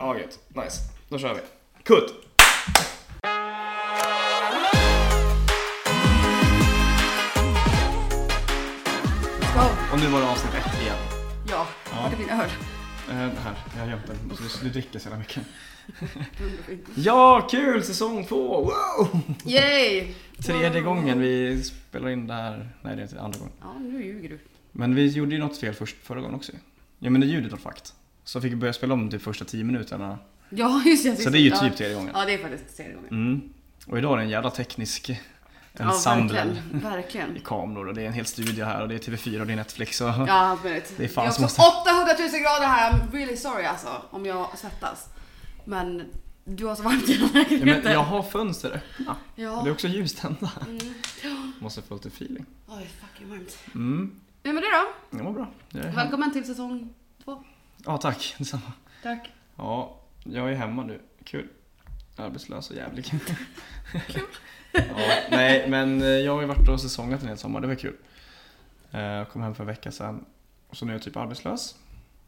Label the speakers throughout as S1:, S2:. S1: Ja, gött. Nice. Då kör vi. Kutt!
S2: Let's go.
S1: Och nu var det avsnitt ett igen.
S2: Ja,
S1: Ja.
S2: vart är min öl?
S1: Eh, här, jag har gömt den. Du, du dricker så jävla mycket.
S2: Underfint.
S1: Ja, kul! Säsong två! Wow!
S2: Yay!
S1: Tredje
S2: Wow.
S1: gången vi spelar in det här. Nej, det är inte andra gången.
S2: Ja, nu ljuger du.
S1: Men vi gjorde ju något fel först, förra gången också. Ja, men det ljudet var fakt. Så fick vi börja spela om de första tio minuterna.
S2: Ja, just det.
S1: Så det är ju
S2: ja.
S1: typ tredje gången.
S2: Ja, det är faktiskt tredje gången.
S1: Mm. Och idag är det en jävla teknisk
S2: ja,
S1: ensemble.
S2: verkligen.
S1: I
S2: verkligen.
S1: kameror och det är en hel studio här och det är TV4 och det är Netflix och...
S2: Ja, allt möjligt.
S1: Det är fan
S2: jag
S1: som
S2: också 800 000 grader här. I'm really sorry alltså, om jag svettas. Men du har så varmt i
S1: Ja, men
S2: lägenheten.
S1: jag har fönster öppna.
S2: Ja.
S1: Det är också ljustända.
S2: Mm.
S1: Måste få lite feeling.
S2: Oj, fucking varmt.
S1: Mm,
S2: Hur med det då?
S1: det var bra. Jag är hemma.
S2: Välkommen till säsong två.
S1: Ja, tack. Detsamma.
S2: Tack.
S1: Ja, jag är hemma nu. Kul. Arbetslös och jävlig. Kul. ja, nej, men eh, jag har ju varit och säsongat en hel sommar. Det var kul. Eh, Jag kom hem för en vecka sedan. Och så nu är jag typ arbetslös.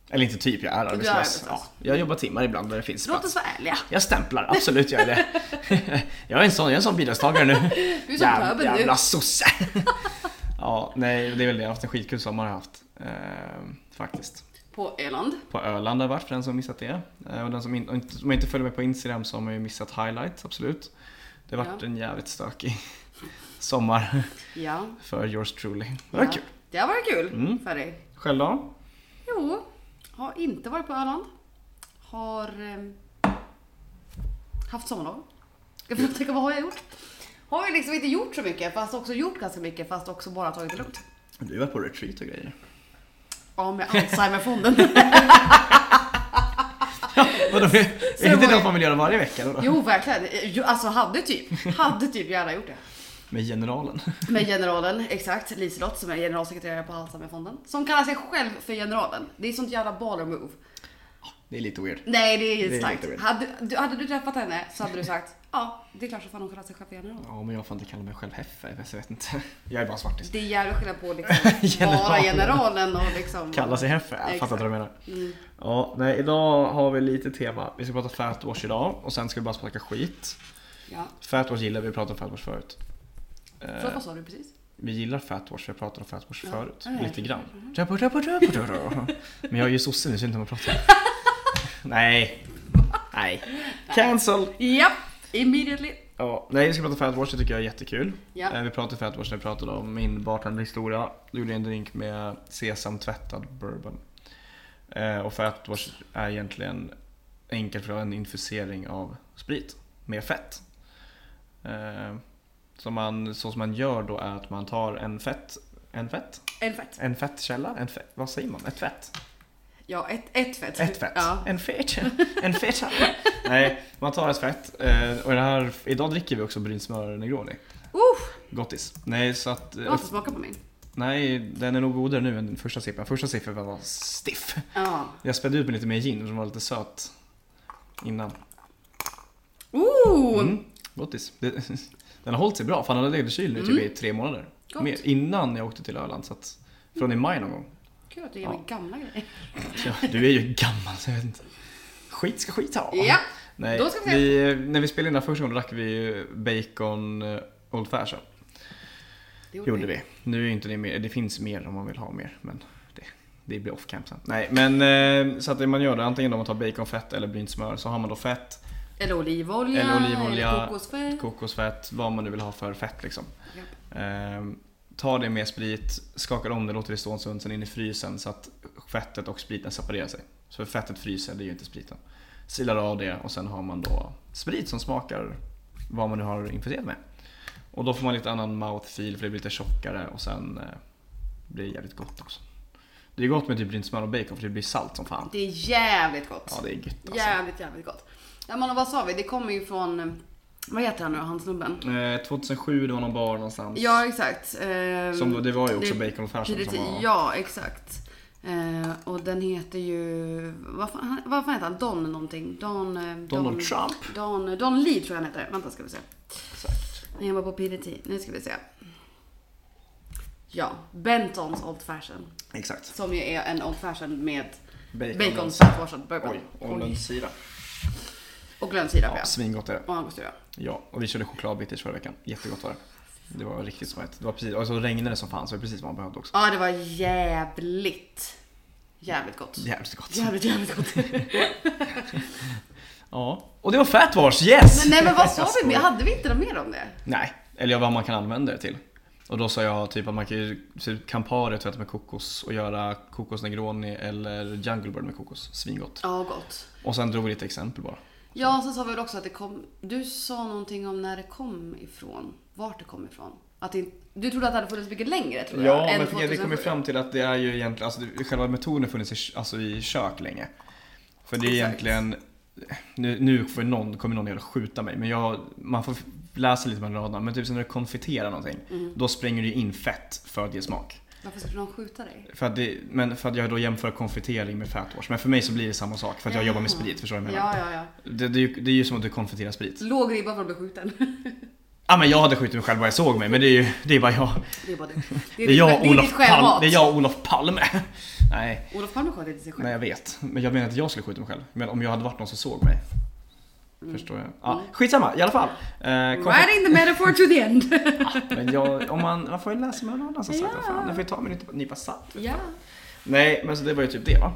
S1: Eller inte typ, jag är arbetslös.
S2: arbetslös.
S1: Ja, jag jobbar timmar ibland när det finns
S2: Låt oss
S1: plats.
S2: vara ärliga.
S1: Jag stämplar, absolut gör jag det. jag är en sån, jag är en sån bidragstagare nu.
S2: Du är som
S1: Jäv-
S2: pöbeln nu.
S1: jävla sosse! ja, nej, det är väl det. Jag har haft en skitkul sommar har jag haft. Ehm, faktiskt.
S2: På Öland.
S1: På Öland har jag varit för den som missat det. Eh, och den som, in, och inte, som inte följer mig på Instagram så har man ju missat highlights, absolut. Det har varit
S2: Ja.
S1: en jävligt stökig sommar
S2: Ja.
S1: för yours truly. Det var
S2: Ja.
S1: kul.
S2: Det har varit kul
S1: Mm.
S2: för dig.
S1: Själv då?
S2: Jo, har inte varit på Öland. Har ehm, haft sommarlov. Jag får tänka, vad har jag gjort? Har ju liksom inte gjort så mycket, fast också gjort ganska mycket, fast också bara tagit det lugnt.
S1: Du var på retreat och grejer.
S2: Ja, med Alzheimerfonden.
S1: Vadå, är
S2: det
S1: det inte
S2: var-
S1: något man vill göra varje vecka? Då?
S2: jo, verkligen. Eh, jo, Alltså, hade typ, hade typ gärna gjort det.
S1: Med generalen.
S2: Med generalen, exakt, Liselott som är generalsekreterare på Alzheimerfonden. Som kallar sig själv för generalen. Det är sånt jävla baller move.
S1: Det är lite weird.
S2: Nej, det är
S1: Det är
S2: ju
S1: lite weird.
S2: starkt. Hade du, hade du träffat henne så hade du sagt, ja, det är klart så fan hon kallar sig själv för general.
S1: Ja, men jag får inte kalla mig själv Heffe, så jag vet inte. Jag är bara svartis.
S2: Det är jävla skillnad på liksom
S1: Generalen.
S2: vara generalen och liksom...
S1: Kalla sig Heffe, jag
S2: Exakt.
S1: fattar vad du menar.
S2: Mm.
S1: Ja, nej, idag har vi lite tema. Vi ska prata fatwash idag och sen ska vi bara snacka skit.
S2: Ja.
S1: Fatwash gillar vi, vi pratade om fatwash förut. Eh,
S2: Förlåt, vad sa du precis?
S1: vi gillar fatwash, vi pratade om fatwash
S2: Ja.
S1: förut.
S2: Mm.
S1: Lite grann. Rappa, rappa, rappa, rappa. Men jag är ju sosse nu så jag vet inte om jag pratar. nej. Nej. Cancel!
S2: Japp! Immediately!
S1: Ja, nej, vi ska prata fatwash, det tycker jag är jättekul.
S2: Ja.
S1: Eh, Vi pratade fatwash när vi pratade om min bartenderhistoria. Då gjorde jag en drink med sesamtvättad bourbon. Eh, Och fatwash är egentligen enkelt för en infusering av sprit med fett. Eh, Så, man, så som man gör då är att man tar en fett, en fett,
S2: En fett.
S1: en fettkälla, en fett, vad säger man? Ett fett?
S2: Ja, ett, ett fett.
S1: Ett fett. Eh,
S2: Ja.
S1: En fet. En feta. Nej, man tar ett fett. eh, Och det här, idag dricker vi också brynsmör negroni.
S2: Uff,
S1: Gottis. Nej, så att... eh,
S2: du har inte smakat på min.
S1: Nej, den är nog godare nu än den första sippen. Första sippen var stiff.
S2: Ja.
S1: Jag spädde ut med lite mer gin som var lite söt innan.
S2: Ooh!
S1: Mm, gottis. Det, den har hållit sig bra, för den har legat i kyl nu typ i tre månader.
S2: Mm. Gott.
S1: Mer, innan jag åkte till Öland, så att, från i maj någon gång.
S2: Kul att du ger mig gamla grejer.
S1: Ja, du är ju gammal, så jag vet inte. Skit ska skit ha.
S2: Ja.
S1: Nej,
S2: Då ska vi se.
S1: vi, eh, när vi spelade in den här första gången drack vi ju bacon eh, Old Fashion.
S2: Det
S1: Gjorde vi. Nu är inte det mer, det finns mer om man vill ha mer. Men det, det blir off camp sen. Nej men eh, så att det man gör det antingen om man tar baconfett eller brynt smör så har man då fett,
S2: Eller olivolja.
S1: Eller olivolja.
S2: Eller kokosfett.
S1: kokosfett, vad man nu vill ha för fett liksom. Ehm, ta det med sprit, skakar om det, låter det stå en stund, sen in i frysen så att fettet och spriten separerar sig. Så fettet fryser, det är ju inte spriten. Silar av det och sen har man då sprit som smakar vad man nu har infuserat med. Och då får man lite annan mouthfeel för det blir lite tjockare och sen eh, blir det jävligt gott också. Det är gott med typ brynt smör och bacon för det blir salt som fan.
S2: Det är jävligt gott.
S1: Ja, det är gött alltså.
S2: Jävligt, jävligt gott. Ja, men och vad sa vi? Det kommer ju från... eh, Vad heter han nu, han snubben?
S1: Eh, 2007, det var någon bar någonstans.
S2: Ja, exakt. Ehm,
S1: som, då- det var ju också
S2: det-
S1: bacon och färsen
S2: Tidigt,
S1: som var...
S2: Ja, exakt. Eh, och den heter ju... Vad fan, han- vad fan heter han? Don någonting? Don... eh,
S1: Donald
S2: Don,
S1: Trump.
S2: Don, eh, Don Lee tror jag han heter. Vänta ska vi se.
S1: Exakt.
S2: Nej, jag var på PDT. Nu ska vi se. Ja, Bentons Old Fashion.
S1: Exakt.
S2: Som ju är en Old Fashion med
S1: Bacon,
S2: bacon, saltwashad bourbon.
S1: Oj, och
S2: Oj.
S1: lönnsirap.
S2: Och glömd sirap ja.
S1: Ja, svingott är det.
S2: Och angostura.
S1: Ja, och vi körde chokladbitters förra veckan. Jättegott var det. Det var riktigt smart. Det var precis, och så regnade det som fan så det var precis vad man behövde också.
S2: Ja, det var jävligt. Jävligt gott.
S1: Jävligt gott.
S2: Jävligt, jävligt gott.
S1: Ja. Och det var fat wash, yes!
S2: Men, nej men vad sa
S1: Jag
S2: vi? mer?
S1: skojar.
S2: Hade vi inte något mer om det?
S1: Nej, eller vad man kan använda det till. Och då sa jag typ att man kan ju typ Campari tvätta med kokos och göra kokos negroni eller Jungle Bird med kokos. Svingott.
S2: Ja, gott.
S1: Och sen drog vi lite exempel bara.
S2: Ja, sen sa vi väl också att det kom... Du sa någonting om när det kom ifrån. Vart det kom ifrån. Att det, du trodde att det hade funnits mycket längre tror jag.
S1: Ja,
S2: än
S1: men för vi
S2: 2007.
S1: kom ju fram till att det är ju egentligen, alltså det- själva metoden har funnits i, k- alltså, i kök länge. För det är
S2: Exakt.
S1: egentligen, nu, nu får någon, kommer någon jävla skjuta mig, men jag, man får f- läsa lite mellan raderna. Men typ så när du konfiterar någonting,
S2: Mm.
S1: då spränger du ju in fett för att ge smak.
S2: Varför skulle någon skjuta dig?
S1: För att, det, men för att jag då jämför konfitering med fatwash. Men för mig så blir det samma sak, för att jag
S2: Ja.
S1: jobbar med sprit, förstår du vad jag menar?
S2: Ja, ja, ja.
S1: Det, det, är ju, det är ju som att du konfiterar sprit.
S2: Låg ribba för att bli skjuten.
S1: Ja men jag hade skjutit mig själv bara jag såg mig, men det är ju, det är bara jag.
S2: Det är bara du.
S1: Det
S2: Det
S1: är,
S2: är, ditt-
S1: jag,
S2: det är ditt
S1: Olof Palme,
S2: självhat.
S1: det är jag Olof Palme. Nej.
S2: Olof Palme sköt inte sig själv.
S1: Nej jag vet, men jag menar att jag skulle skjuta mig själv. Men om jag hade varit någon som såg mig. Förstår jag. Ja, skitsamma, i alla fall. Eh, kom-
S2: Right in the metaphor to the end.
S1: men jag, om man, man får ju läsa mellan raderna som sagt. vad
S2: Ja.
S1: Fan. Jag får ju ta mig en nypa salt.
S2: ja.
S1: Nej, men så det var ju typ det va?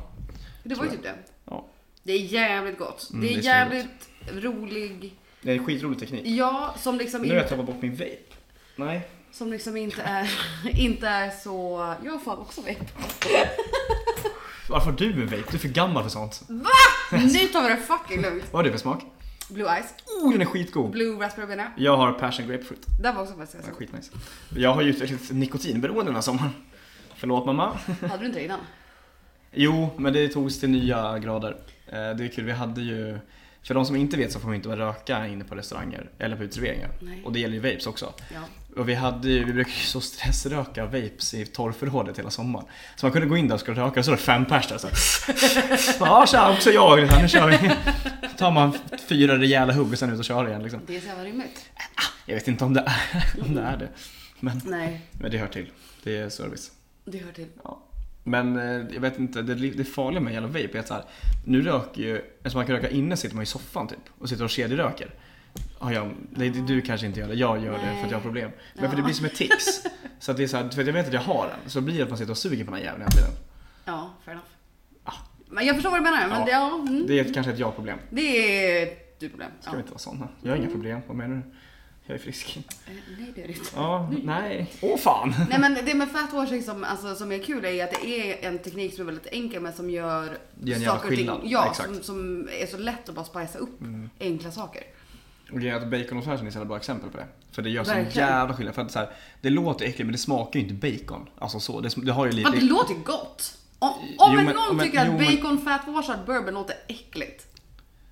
S2: Det var ju typ det.
S1: Ja.
S2: Det är jävligt gott.
S1: Mm,
S2: det är
S1: det är
S2: jävligt rolig.
S1: Det är en skitrolig teknik.
S2: Ja, som liksom,
S1: Nu har jag
S2: inte,
S1: tappat bort min vape. Nej.
S2: som liksom inte är, inte är så... Jag har fan också vape.
S1: Varför har du en vape? Du är för gammal för sånt.
S2: Nu tar vi det fucking lugnt.
S1: Vad har du för smak?
S2: Blue Ice.
S1: Oh, den är skitgod!
S2: Blue Raspberry Banana.
S1: Jag har passion grapefruit.
S2: Den var också faktiskt
S1: Den är
S2: ganska
S1: skitnice. Jag har ju utvecklat ett nikotinberoende den här sommaren. Förlåt mamma.
S2: god. Hade du inte det innan?
S1: Jo, men det togs till nya grader. Eh, Det är kul, vi hade ju... För de som inte vet så får man ju inte bara röka inne på restauranger eller på uteserveringar.
S2: Nej.
S1: Och det gäller ju vapes också.
S2: Ja.
S1: Och vi, hade ju, vi brukar ju så stressröka vapes i torrförrådet hela sommaren. Så man kunde gå in där och skulle röka och så var det fem pers där så här. Ja tja, också jag i det här, nu kör vi. tar man fyra rejäla hugg och sen ut och kör igen liksom.
S2: Det är så jävla rimligt.
S1: Jag vet inte om det är, om det, är det. Men,
S2: Nej,
S1: men det hör till. Det är service.
S2: det hör till.
S1: Ja. Men eh, jag vet inte, det, det farliga med en jävla vape är att så här, nu röker ju, eftersom man kan röka inne sitter man i soffan typ och sitter och kedjeröker. Har jag, nej, det- du kanske inte gör det, jag gör det för att jag har problem. Men för det blir som ett tics. Så att det är så här, för att jag vet att jag har den, så blir det att man sitter och suger på den här jäveln hela tiden.
S2: Ja, fair enough.
S1: Ah.
S2: Men jag förstår vad du menar. Men
S1: Ja.
S2: det, ja, mm.
S1: Det är ett- kanske ett jag-problem.
S2: det är du problem.
S1: Ska
S2: Ja.
S1: vi inte vara sådana? Jag har inga problem, vad menar du? Jag är frisk.
S2: Eh, Nej, det är det inte.
S1: Ja, nej. Åh fan!
S2: Nej men det med fat washing som, alltså, som är kul är ju att det är en teknik som är väldigt enkel men som gör
S1: Det är en jävla skillnad.
S2: ja,
S1: Exakt. Mm.
S2: som, som är så lätt att bara spicea upp enkla saker.
S1: Och grejen är att bacon och färsen är ett jävla bra exempel på det. För det gör sån
S2: Verkligen.
S1: jävla skillnad. För att så här, det låter äckligt men det smakar ju inte bacon. Alltså så, det, sm- det har ju lite...
S2: För att det låter gott! Om, om
S1: Jo,
S2: en
S1: men-
S2: någon
S1: men-
S2: tycker att
S1: jo, men-
S2: bacon fat washad bourbon låter äckligt.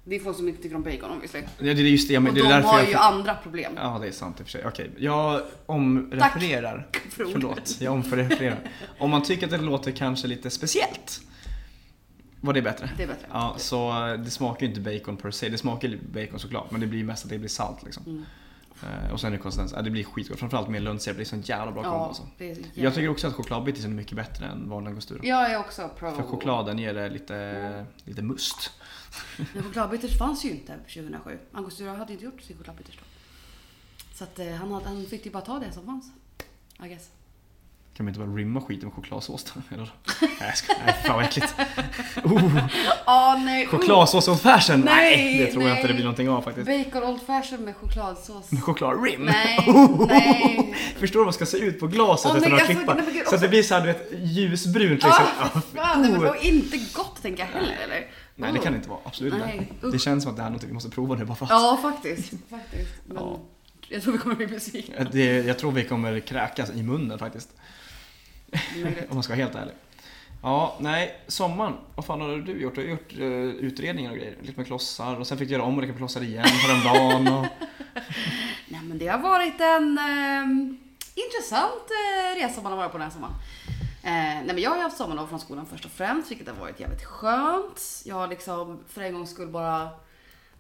S2: Det är folk som inte tycker om bacon obviously.
S1: Ja, det är just det, jag men
S2: Och
S1: det är
S2: de
S1: därför
S2: har
S1: jag...
S2: ju andra problem.
S1: Ja, det är sant i och för sig. Okej, jag omrefererar.
S2: för ordet.
S1: Förlåt, jag omrefererar. Om man tycker att det låter kanske lite speciellt. Var det bättre?
S2: Det är bättre.
S1: Ja, så eh, det smakar ju inte bacon per se. Det smakar ju bacon såklart, men det blir mest att det blir salt liksom.
S2: Mm.
S1: Eh, Och sen är det konsistens. Ja, det blir skitgott. Framförallt med lönnsirap, det är sån jävla bra kombo alltså.
S2: det är så jävla-
S1: Jag tycker också att chokladbitis är mycket bättre än vanlig angostura.
S2: Jag är också pro.
S1: För chokladen ger det lite, lite must.
S2: Men chokladbitters fanns ju inte 2007. Angostura hade inte gjort sin chokladbitters då. Så att eh, han, hade, han fick ju bara ta det som fanns. I guess.
S1: Kan man inte bara rimma skiten med chokladsås då? Eller? Nej, jag skojar. Nej, fan vad äckligt. Oh.
S2: Ah, nej.
S1: Chokladsås och färsen?
S2: Nej,
S1: det tror jag
S2: nej.
S1: inte det blir någonting av faktiskt.
S2: Bacon old fashion med chokladsås.
S1: Med chokladrim?
S2: Nej, nej.
S1: Förstår du vad ska se ut på glaset
S2: Åh,
S1: utan
S2: nej,
S1: att
S2: alltså,
S1: klippa?
S2: nej, men gud,
S1: så att det
S2: också-
S1: blir såhär du vet ljusbrunt liksom.
S2: Ah,
S1: Ja,
S2: fy fan, nej, men,
S1: oh.
S2: och inte gott tänker jag heller eller?
S1: Nej det kan det inte vara, absolut
S2: Nej,
S1: inte.
S2: usch.
S1: Det känns som att det här är något vi måste prova nu bara för att.
S2: Ja faktiskt. faktiskt. Men
S1: Ja.
S2: Jag tror vi kommer bli besvikna.
S1: Det, jag tror vi kommer kräkas i munnen faktiskt.
S2: Det är möjligt.
S1: Om man ska vara helt ärlig. Ja, nej, sommaren. Vad fan har du gjort? Du har gjort eh, utredningar och grejer. Lite med klossar och sen fick du göra om och leka på klossar igen häromdagen. Och...
S2: Nej men det har varit en ehm, intressant eh, resa man har varit på den här sommaren. Eh, nej men jag har ju haft sommarlov från skolan först och främst, vilket har varit jävligt skönt. Jag har liksom för en gångs skull bara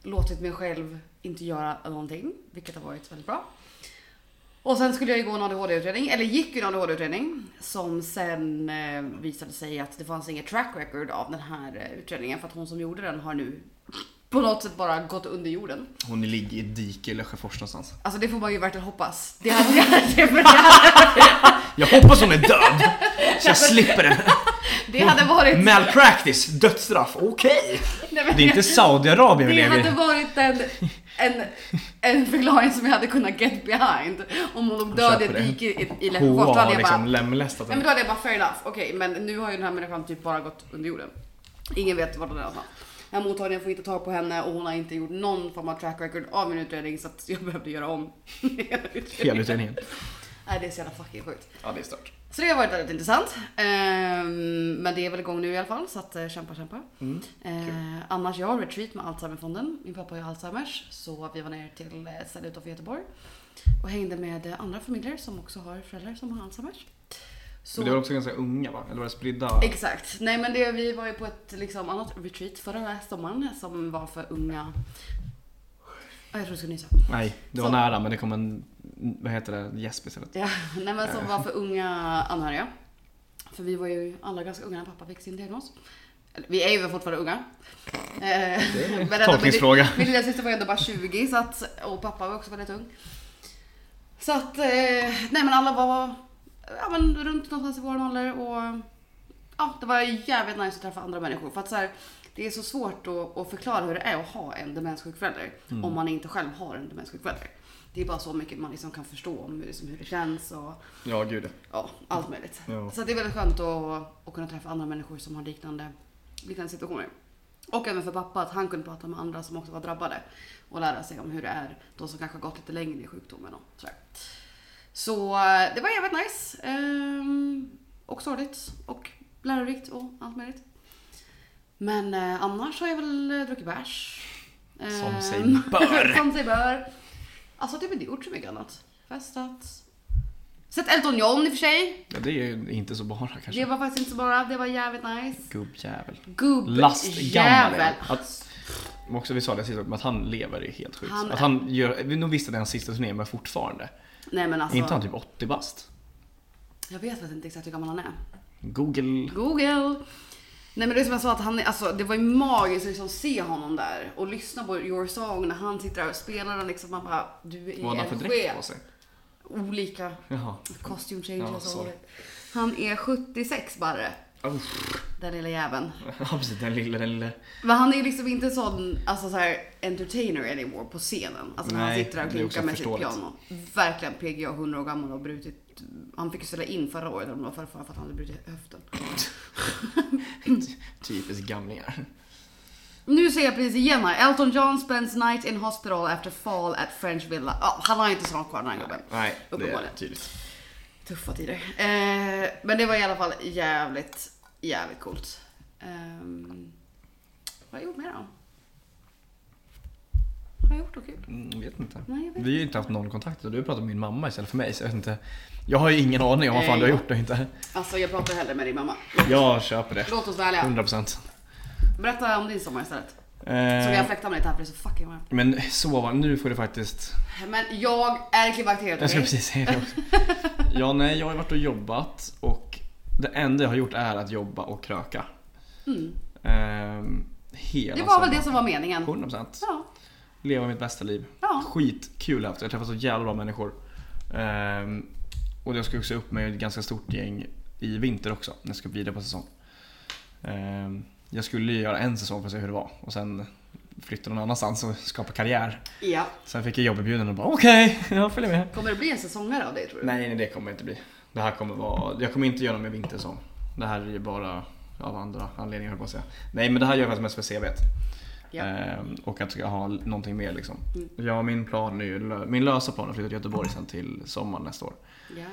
S2: låtit mig själv inte göra någonting, vilket har varit väldigt bra. Och sen skulle jag ju gå en ADHD-utredning, eller gick ju en ADHD-utredning som sen eh, visade sig att det fanns inget track record av den här eh, utredningen för att hon som gjorde den har nu på något sätt bara gått under jorden.
S1: Hon ligger i ett dike i Lesjöfors någonstans.
S2: Alltså det får man ju verkligen hoppas. Det hade jag, det, hade,
S1: Jag hoppas hon är död! Så jag slipper den.
S2: det hade varit...
S1: Malpractice, dödsstraff, okej!
S2: Nej, men
S1: Det är inte Saudiarabien vi
S2: Det
S1: lever
S2: hade
S1: i.
S2: varit en, en, en förklaring som jag hade kunnat get behind. Om hon låg död i
S1: köper
S2: ett
S1: det.
S2: dike i, i Lesjöfors. Då
S1: HA
S2: hade
S1: har
S2: jag bara,
S1: liksom lemlästat
S2: Nej men
S1: henne.
S2: då hade jag bara fair enough. Okej men nu har ju den här människan typ bara gått under jorden. Ingen vet vart den är någonstans. Den här mottagningen får inte tag på henne och hon har inte gjort någon form av track record av min utredning så att jag behövde göra om hela
S1: Hela
S2: utredningen.
S1: utredningen.
S2: Nej det är så jävla fucking sjukt.
S1: Ja, det är stört.
S2: Så det har varit väldigt intressant. Ehm, men det är väl igång nu i alla fall så att eh, kämpa kämpa.
S1: Mm.
S2: Eh, annars, jag har retreat med Alzheimerfonden. Min pappa har ju Alzheimers. Så vi var ner till eh, ett ställe utanför Göteborg. Och hängde med eh, andra familjer som också har föräldrar som har Alzheimers. Så,
S1: Men det var också ganska unga va? Eller var det spridda?
S2: Exakt. Nej men det, vi var ju på ett liksom, annat retreat förra sommaren som var för unga. Ah, Jag tror jag ska nysa.
S1: Nej, det var
S2: Så-
S1: nära men det kom en, vad heter det, gäsp istället. Eh.
S2: Ja, nej men som var för unga anhöriga. För vi var ju alla ganska unga när pappa fick sin diagnos. Eller, Vi är ju fortfarande unga. Eh, men ändå, min-
S1: Tolkningsfråga.
S2: Min lillasyster var ju ändå bara 20 så att, och pappa var också väldigt ung. Så att, eh, nej men alla var ja, men runt någonstans i vår ålder och ja, det var jävligt nice att träffa andra människor. För att så här, det är så svårt att, att förklara hur det är att ha en demenssjuk förälder om man inte själv har en demenssjuk förälder. Det är bara så mycket man liksom kan förstå om hur, liksom, hur det känns och
S1: Ja, gud
S2: ja, allt möjligt.
S1: ja.
S2: Så att det är väldigt skönt att, att kunna träffa andra människor som har liknande, liknande situationer. Och även för pappa, att han kunde prata med andra som också var drabbade och lära sig om hur det är, de som kanske har gått lite längre i sjukdomen och sådär. Så eh, det var jävligt nice. ehm, och sorgligt och lärorikt och allt möjligt. Men eh, annars har jag väl eh, druckit bärs.
S1: Som sig
S2: Ehm,
S1: bör.
S2: som sig bör. Alltså det har vi inte gjort så mycket annat. Festat. Sett Elton John i och för sig.
S1: Ja, det är ju inte så bara kanske.
S2: Det var faktiskt inte så bara, det var jävligt nice.
S1: Gubbjävel. Lastgammal är
S2: Gubbjävel.
S1: han. Att- Men Också vi sa det sist också, men att han lever är helt sjukt.
S2: Han
S1: att han gör, vi nog visste det hans sista turné men fortfarande.
S2: Nej men
S1: Är inte han
S2: alltså,
S1: typ 80 bast?
S2: jag vet faktiskt inte exakt hur gammal han är.
S1: Google.
S2: Google! Nej men det är som jag sa att han, är- alltså, det var ju magiskt att liksom se honom där och lyssna på Your Song när han sitter där och spelar den liksom. Man bara, du
S1: Vad hade
S2: är
S1: han för
S2: en
S1: dräkt på
S2: chef.
S1: sig?
S2: Olika
S1: Jaha.
S2: costume changes.
S1: Ja,
S2: och
S1: sorry.
S2: han är 76 bara,
S1: Uff.
S2: den lilla jäveln.
S1: Ja precis, den lille, den lille.
S2: Men han är ju liksom inte sån, alltså så här entertainer anymore på scenen. Alltså när han
S1: Nej,
S2: sitter där och
S1: det är också
S2: klunkar med sitt
S1: förståeligt.
S2: piano. Verkligen PGA 100 år gammal och brutit. Han fick ju ställa in förra året, eller om det var förra, förra, för att han hade brutit höften.
S1: Typiskt gamlingar.
S2: Nu ser jag precis igen här. Elton John spends night in hospital after fall at French villa. Ja, han har inte så långt kvar den här gubben.
S1: Nej, det är
S2: Uppenbarligen.
S1: tydligt.
S2: Tuffa tider. Eh, men det var i alla fall jävligt, jävligt coolt. Ehm, vad har jag gjort mer då? Har jag gjort något kul?
S1: Mm, vet inte.
S2: Nej, jag vet
S1: Vi har ju inte haft någon kontakt och du pratar med min mamma istället för mig så jag vet inte. Jag har ju ingen aning om vad fan du har gjort och inte.
S2: Alltså jag pratar hellre med din mamma.
S1: Jag köper det.
S2: Låt oss vara ärliga.
S1: 100%. procent. Eh,
S2: Berätta om din sommar istället. Så jag fläktar mig lite här för det är så fucking varmt.
S1: Men sova, nu får du faktiskt...
S2: Men jag är klimakteriet
S1: Jag ska
S2: okej?
S1: precis säga det också. Ja, nej, jag har varit och jobbat och det enda jag har gjort är att jobba och kröka.
S2: Mm.
S1: Ehm, hela
S2: Det var väl det som var meningen.
S1: 100 procent.
S2: Ja,
S1: Leva mitt bästa liv.
S2: ja.
S1: Skitkul har jag haft. Jag har träffat så jävla bra människor. Ehm, och jag ska också upp med ett ganska stort gäng i vinter också. När jag ska upp vidare på säsong. Ehm, jag skulle ju göra en säsong för att se hur det var och sen flytta någon annanstans och skapa karriär.
S2: ja.
S1: Sen fick jag jobberbjudanden och bara okej, jag följer med.
S2: Kommer det bli en säsongare av dig tror du?
S1: Nej, nej det kommer det inte bli. Det här kommer vara, jag kommer inte göra någon mer vintersång. Det här är ju bara av andra anledningar höll jag på att säga. Nej men det här gör jag faktiskt mest för CVt.
S2: Ja.
S1: Ehm, och att jag har någonting mer liksom.
S2: Mm.
S1: Ja, min plan är ju, lö- min lösa plan är att flytta till Göteborg sen till sommaren nästa år.
S2: Ja.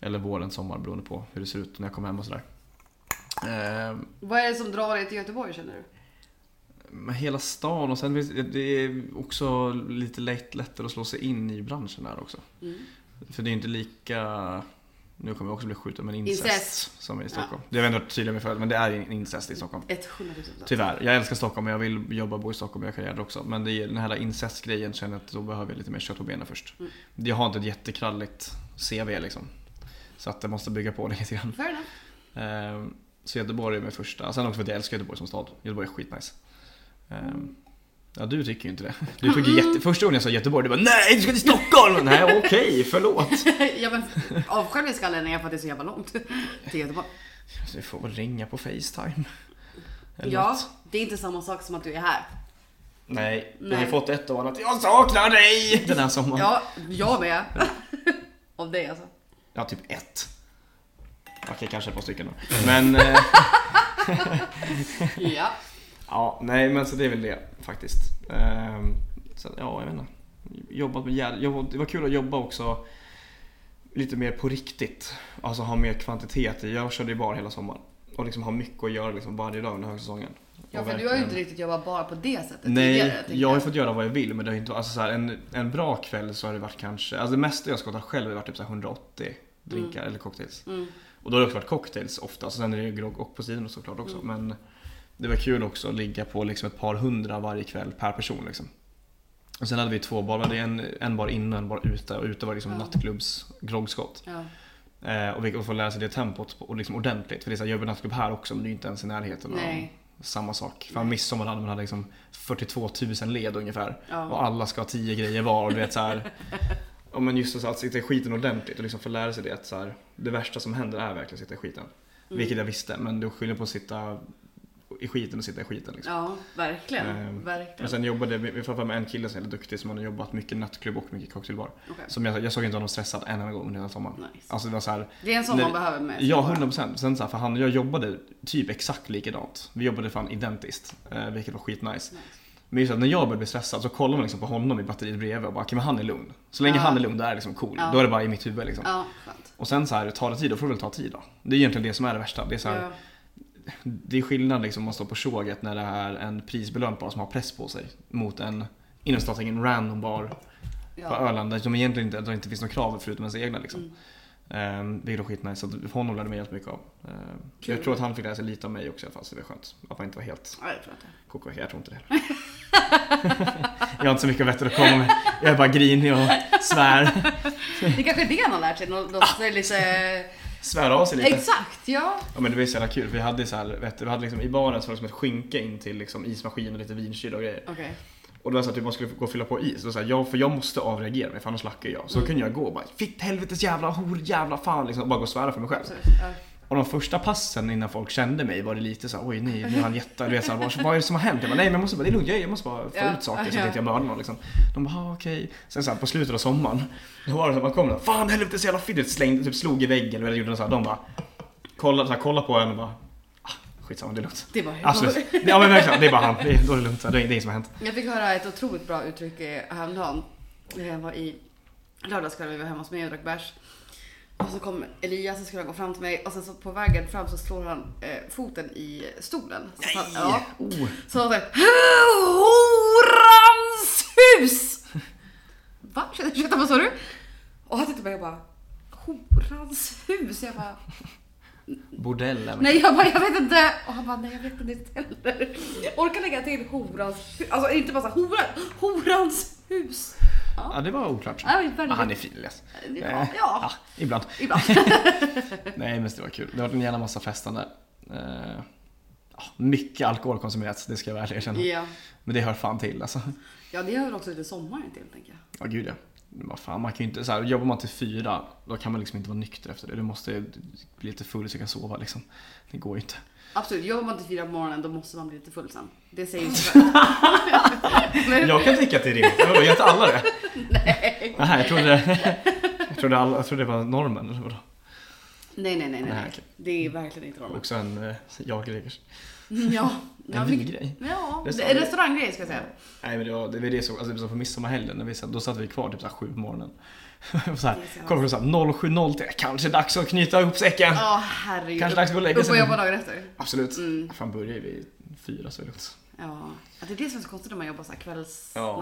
S1: Eller våren, sommar beroende på hur det ser ut när jag kommer hem och sådär. Ehm,
S2: Vad är det som drar dig till Göteborg känner du?
S1: men hela stan och sen finns det- det är också lite lätt, lättare att slå sig in i branschen där också.
S2: Mm.
S1: För det är inte lika, nu kommer jag också bli skjuten, men incest,
S2: Incest.
S1: som är i Stockholm. Det har jag ändå varit tydlig med förut, men det är in- incest i Stockholm.
S2: 100 000
S1: Tyvärr, jag älskar Stockholm och jag vill jobba och bo i Stockholm och jag kan göra det också. Men det är den här incestgrejen känner jag att då behöver jag lite mer kött på benen först.
S2: Mm.
S1: Jag har inte ett jättekralligt CV liksom. Så att jag måste bygga på det lite grann.
S2: Fair enough.
S1: Ehm, Så Göteborg är min första, sen också för att jag älskar Göteborg som stad. Göteborg är skitnice. Ehm, Ja, du tycker ju inte det. Du tycker jätte... Första gången jag sa Göteborg, du bara nej, du ska till Stockholm! Nej, okej, förlåt.
S2: ja, men av själviska anledningar för att det är så jävla långt till Göteborg.
S1: Så vi får väl ringa på Facetime. Eller
S2: Ja,
S1: något.
S2: det är inte samma sak som att du är här.
S1: Nej, vi
S2: Nej.
S1: har ju fått ett och annat. Jag saknar dig! Den här sommaren. Ja,
S2: Ja, jag med. Av dig alltså.
S1: typ ett. Okej, kanske ett par stycken då. Men, eh,
S2: Ja.
S1: ja, nej men så det är väl det faktiskt. Ehm, så, ja, jag vet inte. Jobbat med jävla, jobbat, det var kul att jobba också lite mer på riktigt. Alltså ha mer kvantitet. i. Jag körde ju bar hela sommaren. Och liksom ha mycket att göra liksom varje dag under högsäsongen.
S2: Ja,
S1: Och
S2: för du har ju
S1: verkligen-
S2: inte riktigt jobbat bara på det sättet
S1: Nej,
S2: tidigare. tänker
S1: jag har ju fått göra vad jag vill men det har inte alltså så här, en, en bra kväll så har det varit kanske, alltså det mesta jag skottat själv har varit typ så här 180 drinkar eller cocktails.
S2: Mm.
S1: Och då har det också varit cocktails ofta, så sen är det ju grogg och på sidan såklart också
S2: Mm.
S1: men det var kul också att ligga på liksom ett par hundra varje kväll per person liksom. Och sen hade vi två barer, det är en, en bar inne och en bar ute och ute var liksom
S2: Ja.
S1: nattklubbs groggskott.
S2: Ja.
S1: Eh, och vi får lära sig det tempot och liksom ordentligt för det är så här, gör vi nattklubb här också men det är ju inte ens i närheten av
S2: Nej.
S1: samma sak. Fan midsommar hade man hade liksom 42 000 led ungefär.
S2: Ja.
S1: Och alla ska ha 10 grejer var. Och du vet så här. Ja men just så att sitta i skiten ordentligt och liksom få lära sig det att så här, det värsta som händer är verkligen att sitta i skiten. Vilket jag visste men det är skillnad på att sitta i skiten och sitta i skiten. Liksom.
S2: Ja, verkligen.
S1: Ehm, Men
S2: verkligen.
S1: sen jobbade jag med- framförallt med en kille som är väldigt duktig som hade jobbat mycket nattklubb och mycket cocktailbar.
S2: Okej.
S1: Som jag, jag såg inte honom stressad en enda gång under hela sommaren.
S2: Nice.
S1: Alltså det var så här,
S2: Det är en sån
S1: Nej,
S2: man behöver med sig
S1: Ja,
S2: bara.
S1: 100%. Sen så här, för han och jag jobbade typ exakt likadant. Vi jobbade fan identiskt, eh, vilket var skitnice.
S2: Nice.
S1: Men just att när jag börjar bli stressad så kollar man liksom på honom i batteriet bredvid och bara, okej men han är lugn. Så länge
S2: Ja.
S1: han är lugn, då är det liksom cool.
S2: Ja.
S1: Då är det bara i mitt huvud liksom.
S2: Ja, skönt.
S1: Och sen så här, tar det tid, då får det väl ta tid då. Det är egentligen det som är det värsta. Det är, så här,
S2: Ja.
S1: det är skillnad liksom om man står på tjoget när det är en prisbelönt bar som har press på sig. Mot en, inom statsägen, random bar på
S2: Ja. Mm.
S1: Öland där de egentligen inte, där det inte finns några krav förutom ens egna. Liksom. Ehm, vilket var skitnice. Så att honom lärde mig jävligt mycket av. Ehm,
S2: Kul.
S1: jag tror att han fick lära sig lite av mig också i alla fall så det var skönt. Att man inte var helt
S2: Ja, jag tror att det.
S1: koko. Jag tror inte det heller. jag har inte så mycket vettigt att komma med. Jag är bara grinig och svär.
S2: Det är kanske är det han har lärt sig. Någon, någon, som är lite...
S1: Svär av sig lite.
S2: Exakt, ja.
S1: Ja, men det var ju så jävla kul. Vi hade ju så här, vet du, vi hade liksom, i baren så var det som ett skynke in till liksom ismaskin och lite vinkyl och grejer.
S2: Okej.
S1: Och då var det så här, typ man skulle gå och fylla på is. Och så här, jag, för jag måste avreagera mig för annars lackar jag. Så då kunde jag gå och bara fitt helvetes jävla hor jävla fan liksom, och bara gå och svära för mig själv.
S2: Absolut. Ja.
S1: Och de första passen innan folk kände mig var det lite så här, oj nej, nu är han jätte, du vet så här, vad- vad är det som har hänt? Jag bara, nej men jag måste bara, det är lugnt, jag jag måste bara få
S2: Ja,
S1: ut saker så
S2: ja.
S1: att inte jag mördar någon liksom. De bara, ah, okej. Sen så här, på slutet av sommaren, då var det så här, man kom där, fan helvetes jävla fidget slängde, typ slog i väggen eller gjorde något så här. De bara, kolla, så här, kolla på en och bara, ah, skitsamma det är lugnt.
S2: Det var helt
S1: Absolut. Ja men verkligen, det är bara han, det är, då är det lugnt, så här, det är inget som har hänt.
S2: Jag fick höra ett otroligt bra uttryck eh, häromdagen. Eh, Jag var i lördagskväll, vi var hemma hos mig och drack bärs. Och så kom Elias och skulle gå fram till mig och sen så på vägen fram så slår han eh, foten i stolen. Så att han, ja.
S1: Oh.
S2: Så han såhär Horans hus! Va? Ursäkta vad sa du? Och han tittade på mig och bara Horans hus? Jag bara
S1: Bordell är
S2: Nej jag bara, jag vet inte. Och han bara, nej jag vet inte heller. Orkar lägga till horans hus. Alltså inte bara så här, hora, horans hus.
S1: Ja det var oklart.
S2: Ja, det är väldigt-
S1: Ah, han är fin Elias.
S2: Ja,
S1: Eh,
S2: ja.
S1: ah, ibland.
S2: Ibland.
S1: Nej men det var kul. Det har varit en jävla massa festande. Eh, ja, mycket alkohol konsumerats, det ska jag väl erkänna.
S2: Ja.
S1: Men det hör fan till alltså.
S2: ja, det gör väl också lite sommaren till tänker jag.
S1: Ja gud ja. Men Vad fan, man kan ju inte, så här, jobbar man till fyra, då kan man liksom inte vara nykter efter det. Du måste bli lite full så du kan sova liksom. Det går ju inte.
S2: Absolut, jobbar man till fyra på morgonen då måste man bli lite full sen. Det säger ju sig självt. Men-
S1: Jag kan tycka att det är rimligt. Vadå, gör inte alla det? Nej. Nej, jag trodde, jag trodde, alla, jag trodde det var normen eller vadå?
S2: Nej, nej, nej, nej.
S1: Nej,
S2: nej.
S1: okej.
S2: Det är verkligen inte normalt. Mm,
S1: Också en eh, jag-grej
S2: Ja,
S1: En
S2: jag fick...
S1: vi-grej.
S2: Ja, det är
S1: Restaurang.
S2: restauranggrej ska jag säga.
S1: Nej men det var, det var det som, alltså, det var som på midsommarhelgen, när vi, sen- då satt vi kvar typ så här sju på morgonen. Och så här,
S2: Det är så.
S1: kollade på så här 07.03, kanske dags att knyta ihop säcken.
S2: Ja, herregud.
S1: Kanske dags att gå och lägga
S2: Upp och
S1: sig.
S2: jobba dagen efter.
S1: Absolut.
S2: Mm.
S1: Fan börjar vi fyra så är det lugnt.
S2: Ja, det är det som är så konstigt när man jobbar så här kvälls...
S1: Ja.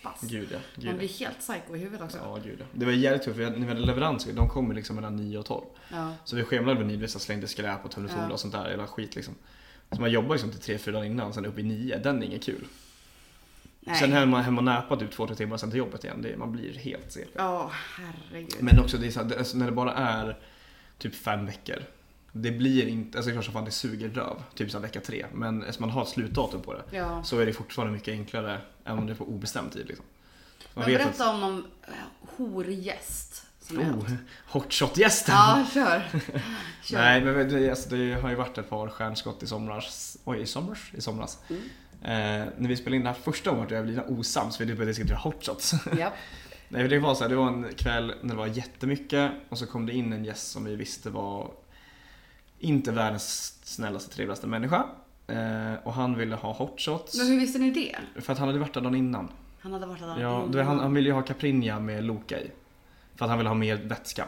S2: Nattspass.
S1: Gud ja.
S2: Man
S1: Gud,
S2: blir
S1: ja. Alltså,
S2: helt psycho i huvudet också.
S1: ja, gud ja. Det var jävligt tufft för jag- när vi hade leveranser, de kom ju liksom mellan 9 och 12.
S2: Ja.
S1: Så vi schemalade väl nidvis, slängde skräp och tömde
S2: Ja.
S1: ja. och sånt där, jävla skit liksom. Så man jobbar liksom till tre fyra dagar innan, sen upp i nio. Den är inget kul.
S2: Nej.
S1: Sen är man hemma och näpar typ två tre timmar sen till jobbet igen. Det, man blir helt CP.
S2: Ja, herregud.
S1: Men också det är så här, det- alltså när det bara är typ fem veckor Det blir inte, alltså det är klart som fan det suger röv, typ så här vecka tre. Men eftersom man har ett slutdatum på det
S2: Ja.
S1: så är det fortfarande mycket enklare än om det är på obestämd tid. Liksom. Man
S2: Men
S1: vet
S2: berätta om någon eh, horgäst som är
S1: att,
S2: hänt.
S1: oh, hot shot-gästen!
S2: Ja, kör. kör.
S1: Nej, men det, alltså, det har ju varit ett par stjärnskott i somras. Oj, i somras? I somras.
S2: Mm.
S1: Eh, när vi spelade in det här första året och jag blev lite osams för vi började diskutera hot shots.
S2: Japp.
S1: Nej, men det var så här, det var en kväll när det var jättemycket och så kom det in en gäst som vi visste var inte världens snällaste, trevligaste människa. Eh, och han ville ha hot shots.
S2: Men hur visste ni det?
S1: För att han hade varit där dagen innan.
S2: Han hade varit där
S1: Ja, du vet, han, han ville ju ha Caprinja med Loka i. För att han ville ha mer vätska.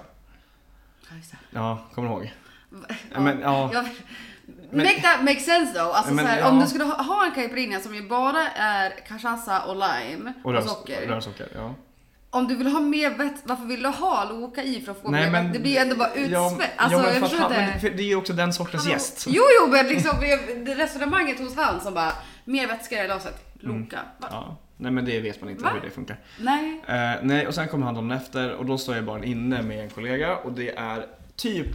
S2: Ja, just det.
S1: Ja, kommer du ihåg?
S2: Ja.
S1: Men, ja.
S2: Ja.
S1: Men-
S2: Make that make sense though. Alltså
S1: Men,
S2: så här,
S1: ja.
S2: Om du skulle ha, ha en caipirinha som ju bara är cachaça och lime och,
S1: rörs-
S2: socker.
S1: Rörsocker, ja.
S2: Om du vill ha mer vett, varför vill du ha Loka i för att få
S1: Nej,
S2: mer
S1: men-
S2: vett? Det blir ju ändå bara utspätt. alltså,
S1: men
S2: jag
S1: för att
S2: förstår
S1: han- men
S2: inte.
S1: för det är ju också den sortens
S2: Han har-
S1: gäst.
S2: Jo, jo, men liksom det- det resonemanget hos han som bara, mer vätska i glaset,
S1: Mm.
S2: Loka. Va?
S1: Ja. Nej men det vet man inte
S2: Va?
S1: hur det funkar.
S2: Nej.
S1: Eh, nej, och sen kommer han dagen efter och då står jag bara inne med en kollega och det är typ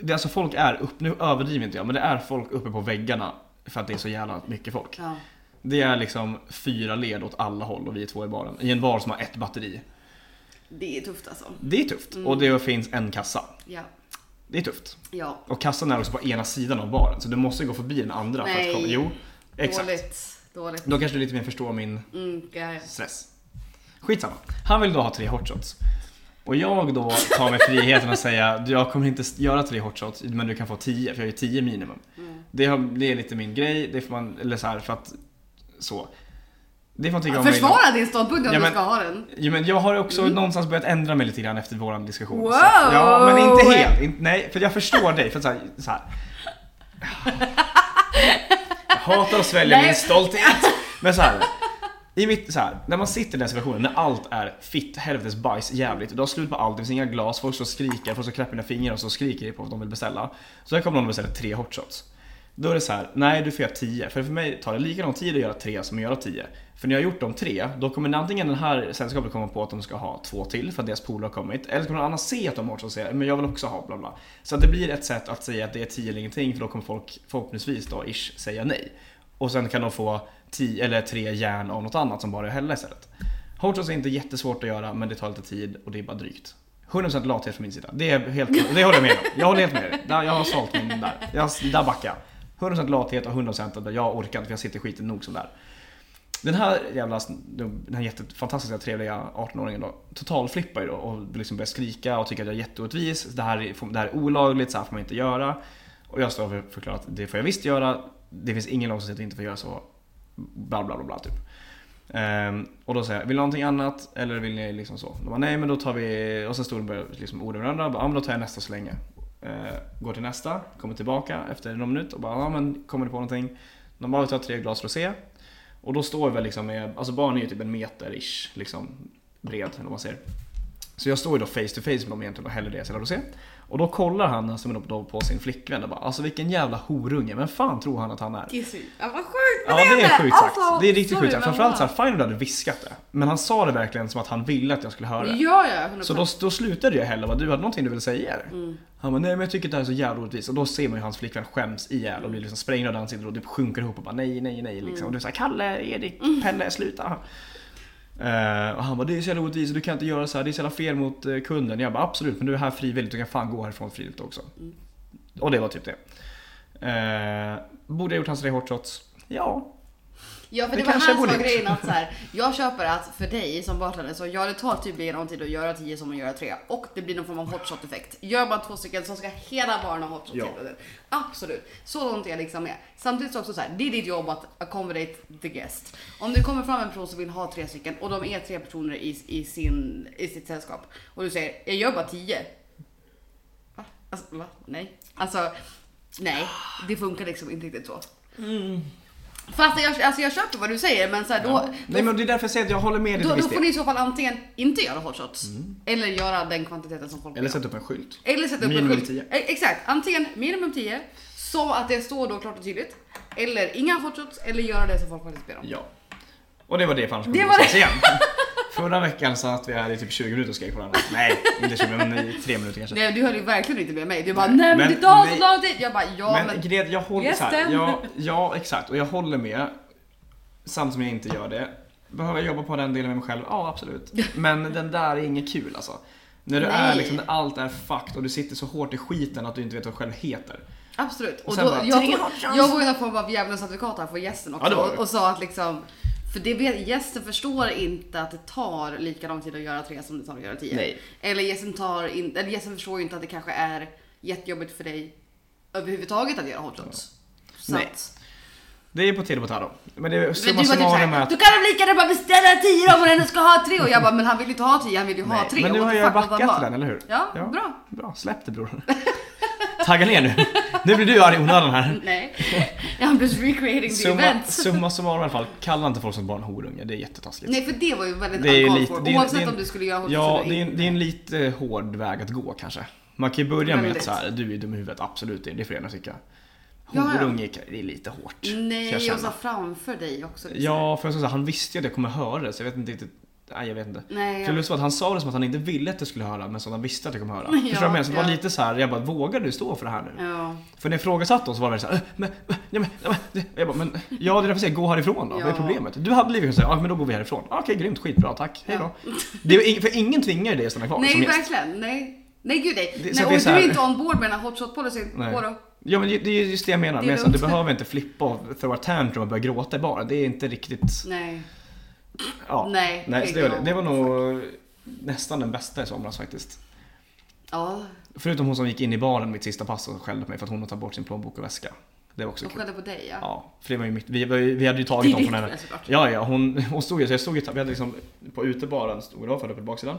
S1: det är alltså folk är upp, nu överdriver inte jag, men det är folk uppe på väggarna för att det är så jävla mycket folk.
S2: Ja.
S1: Det är liksom fyra led åt alla håll och vi är två i baren. I en bar som har ett batteri.
S2: Det är tufft alltså.
S1: Det är tufft.
S2: Mm.
S1: Och det finns en kassa.
S2: Ja.
S1: Det är tufft.
S2: Ja.
S1: Och kassan är också på ena sidan av baren så du måste gå förbi den andra för
S2: Nej.
S1: att komma. Jo, exakt.
S2: Dåligt. Dåligt.
S1: Då kanske du lite mer förstår min
S2: Mm, ja, ja.
S1: stress. Skitsamma. Han vill då ha tre hotshots. Och jag då tar mig friheten att säga "Du, jag kommer inte göra tre hotshots men du kan få tio för jag är tio minimum.
S2: Mm.
S1: Det, har, det är lite min grej, det får man, eller så här för att så. Det får man tycka om mig.
S2: Försvara din ståndpunkt om
S1: Ja,
S2: du
S1: men-
S2: ska ha den.
S1: Jo, men jag har också någonstans börjat ändra mig lite grann efter våran diskussion.
S2: Mm. Wow!
S1: Så att- ja, men inte helt. In, nej, för jag förstår dig. För att så här, så här. Jag hatar att svälja
S2: Nej.
S1: min stolthet. Men så här. I mitt, så här, när man sitter i den situationen, när allt är fitt, helvetes bajs, jävligt. Du har slut på allt, det finns inga glas, folk så skriker, folk så knäpper dina fingrar och så skriker de på att de vill beställa. Så här kommer någon och beställer tre hot shots. Då är det så här, nej du får göra 10. För för mig tar det lika lång tid att göra tre som att göra 10. För när jag har gjort de tre, då kommer antingen den här sällskapet komma på att de ska ha två till för att deras polare har kommit. Eller så kommer någon annan se att de har så och säga, men jag vill också ha bla bla. Så att det blir ett sätt att säga att det är 10 eller ingenting för då kommer folk förhoppningsvis då ish säga nej. Och sen kan de få 10 eller tre järn av något annat som bara är hälla istället. Hot shots är inte jättesvårt att göra men det tar lite tid och det är bara drygt. 100% lathet från min sida. Det, är helt, det håller jag med om. Jag håller helt med dig. Där- Jag har svalt min där. Jag, där backar jag. 100% lathet och 100% att jag orkar inte för jag sitter skiten nog som där. Den här jävla, den här jättefantastiska trevliga 18-åringen då, totalflippar ju då och liksom börjar skrika och tycker att jag är jätteorättvis. Det här är, det här är olagligt, så här får man inte göra. Och jag står och förklarar att det får jag visst göra. Det finns ingen lag som säger att jag inte får göra så. Bla bla bla bla typ. Ehm, och då säger jag, vill ni ha någonting annat eller vill ni liksom så? De bara, nej men då tar vi, och sen stod de och började liksom orda med varandra. Jag Bara, ja men då tar jag nästa så länge. Ehm, går till nästa, kommer tillbaka efter någon minut och bara, ja men kommer ni på någonting? De bara, vi tar tre glas rosé. Och då står vi väl liksom med, alltså barn är ju typ en meter-ish liksom bred eller vad man säger. Så jag står ju då face to face med dem egentligen och häller deras jävla rosé. Och då kollar han alltså då på sin flickvän och bara alltså vilken jävla horunge, vem fan tror han att han är?
S2: Det är sjukt. Ja, vad sjukt
S1: Ja det är sjukt sagt.
S2: Alltså,
S1: Det är riktigt
S2: sorry,
S1: sjukt sagt.
S2: men
S1: Framförallt
S2: vad-
S1: såhär, fine om du hade viskat det. Men han sa det verkligen som att han ville att jag skulle höra det.
S2: Ja, ja. 100%.
S1: Så då, då slutade jag heller vad du hade någonting du ville säga eller?
S2: Mm.
S1: Han bara, nej men jag tycker det här är så jävla orättvist. Och då ser man ju hans flickvän skäms ihjäl och blir liksom sprängd av ansiktet och typ sjunker ihop och bara nej, nej, nej
S2: Mm.
S1: liksom. Och du säger Kalle, Erik, Pelle, sluta. Eh, och han bara, det är så jävla orättvist och du kan inte göra så här, det är så jävla fel mot eh, kunden. Jag bara, absolut men du är här frivilligt, du kan fan gå härifrån frivilligt också.
S2: Mm.
S1: Och det var typ det. Eh, borde jag gjort hans tre hot shots? Ja.
S2: Ja för
S1: Det
S2: det, var
S1: kanske
S2: hans
S1: jag
S2: var
S1: borde
S2: grejen att så här, jag köper att för dig som bartender så ja det tar tydligen någon tid att göra 10 som att göra 3 och det blir någon form av hotshot effekt. Gör man två stycken så ska hela baren ha hotshot
S1: Ja.
S2: hela tiden. Absolut, så långt är jag liksom med. Samtidigt så också så här, det är ditt jobb att accommodate the guest. Om det kommer fram en person som vill ha tre stycken och de är tre personer i, i, sin, i sitt sällskap och du säger jag gör bara 10. Va? Alltså, va? Nej. Alltså, nej. Det funkar liksom inte riktigt så.
S1: Mm.
S2: Fast jag, alltså jag köper vad du säger men så här, då,
S1: Nej men det är därför jag säger att jag håller med dig till
S2: då, då
S1: viss
S2: får
S1: del.
S2: ni i så fall antingen inte göra hotshots eller göra den kvantiteten som folk
S1: Eller
S2: vill ha.
S1: sätta upp en skylt.
S2: Eller sätta upp
S1: minimum
S2: en skylt.
S1: 10.
S2: Eh, Exakt, antingen minimum 10 så att det står då klart och tydligt. Eller inga hotshots eller göra det som folk faktiskt ber om.
S1: Ja. Och det var det för annars
S2: Det
S1: kommer vi
S2: var
S1: ses igen. Förra veckan sa att vi hade typ 20 minuter och skrek på varandra. Nej, inte 20 men i 3 minuter kanske.
S2: Nej, du höll ju verkligen inte med mig. Du bara, nej men
S1: Men-
S2: det tar så
S1: nej.
S2: lång tid. Jag bara, ja men.
S1: men Gret, jag håller
S2: Yes,
S1: så här.
S2: then.
S1: Ja, ja, exakt. Och jag håller med. Samtidigt som jag inte gör det. Behöver jag jobba på den delen med mig själv? Ja, absolut. Men den där är inget kul alltså. När du
S2: Nej.
S1: är liksom, när allt är fucked och du sitter så hårt i skiten att du inte vet vad du själv heter.
S2: Absolut. Och
S1: sen
S2: då,
S1: bara,
S2: jag,
S1: tre
S2: tog,
S1: hot shots.
S2: jag var ju någon form av djävulens advokat här för gästen också.
S1: Ja, det var
S2: och,
S1: du.
S2: och sa att liksom, för det vet, gästen förstår inte att det tar lika lång tid att göra tre som det tar att göra tio.
S1: Nej.
S2: Eller gästen, tar in, eller gästen förstår ju inte att det kanske är jättejobbigt för dig överhuvudtaget att göra hotshots. Så
S1: Nej.
S2: att,
S1: Det är på tid och på tarro. Men det är
S2: men du
S1: summa
S2: var typ
S1: summarum
S2: såhär,
S1: är
S2: då kan de lika gärna bara beställa tio om hon ändå ska ha tre. Och jag bara, men han vill ju inte ha tio, han vill ju ha
S1: Nej,
S2: tre.
S1: Men nu
S2: Och
S1: har
S2: what the
S1: jag
S2: fuck, vad
S1: backat
S2: var-
S1: till den, eller hur?
S2: Ja,
S1: Ja.
S2: bra.
S1: Bra, släpp det bror. Tagga ner nu. Nu blir du arg i onödan här.
S2: Nej, I'm just recreating the
S1: Summa,
S2: event.
S1: summa summarum i alla fall, kalla inte folk som barn horunge, det är jättetaskigt.
S2: Nej för det var ju väldigt
S1: Det är ju
S2: uncalled
S1: lite-
S2: for.
S1: det är-
S2: Oavsett
S1: det är-
S2: om du skulle göra hotet
S1: Ja,
S2: eller
S1: det är,
S2: inte.
S1: en, det är en lite hård väg att gå kanske. Man kan ju börja med
S2: Väldigt.
S1: att så här, du är dum i huvudet, absolut, det det får jag gärna tycka.
S2: Ja, ja.
S1: Horunge, det är lite hårt. kan jag
S2: Nej,
S1: känna.
S2: och så framför dig också. liksom.
S1: Ja, för jag ska säga, han visste ju att jag kommer höra det, så jag vet inte riktigt. Nej, jag vet inte.
S2: Nej,
S1: För
S2: jag...
S1: det var att han sa det som att han inte ville att jag skulle höra, men som han visste att jag kommer höra.
S2: Ja,
S1: Förstår du vad jag menar? Så det var
S2: ja.
S1: lite så här, jag bara, vågar du stå för det här nu?
S2: ja.
S1: För när jag ifrågasatte oss så var det så här, "Äh, men, äh, ja, men, ja, men, jag bara, men, ja det är därför jag säger gå härifrån då, vad
S2: Ja.
S1: är problemet? Du hade blivit såhär, ja men då går vi härifrån. Ja, Okej, grymt, skitbra, tack, hejdå. Det är, ju ing- för ingen tvingar ju dig att stanna kvar som
S2: Nej,
S1: gäst.
S2: verkligen. Nej. Nej gud nej.
S1: Det- så
S2: nej
S1: att
S2: och
S1: det är
S2: du
S1: så här-
S2: är inte on board med den här hotshot policyn.
S1: Nej.
S2: Vadå?
S1: Ja men det det är just det jag menar,
S2: Det är
S1: men så, du
S2: lugnt.
S1: behöver inte flippa och throwa tantrum och börja gråta bara. Det är inte riktigt,
S2: Nej.
S1: ja.
S2: Nej,
S1: Nej, så det, var det.
S2: jag-
S1: det var nog nästan den bästa i somras faktiskt.
S2: Ja,
S1: Förutom hon som gick in i baren mitt sista pass och skällde på mig för att hon hade tagit bort sin plånbok och väska. Det var också
S2: de
S1: kul.
S2: skällde på dig ja.
S1: Ja, för det var ju mitt, vi, var ju- vi hade ju
S2: Det
S1: tagit
S2: är
S1: dem
S2: ditt
S1: från henne.
S2: fel såklart.
S1: Ja, ja, hon, hon stod ju så jag stod ju, vi hade liksom på utebaren, stod jag för uppe på baksidan.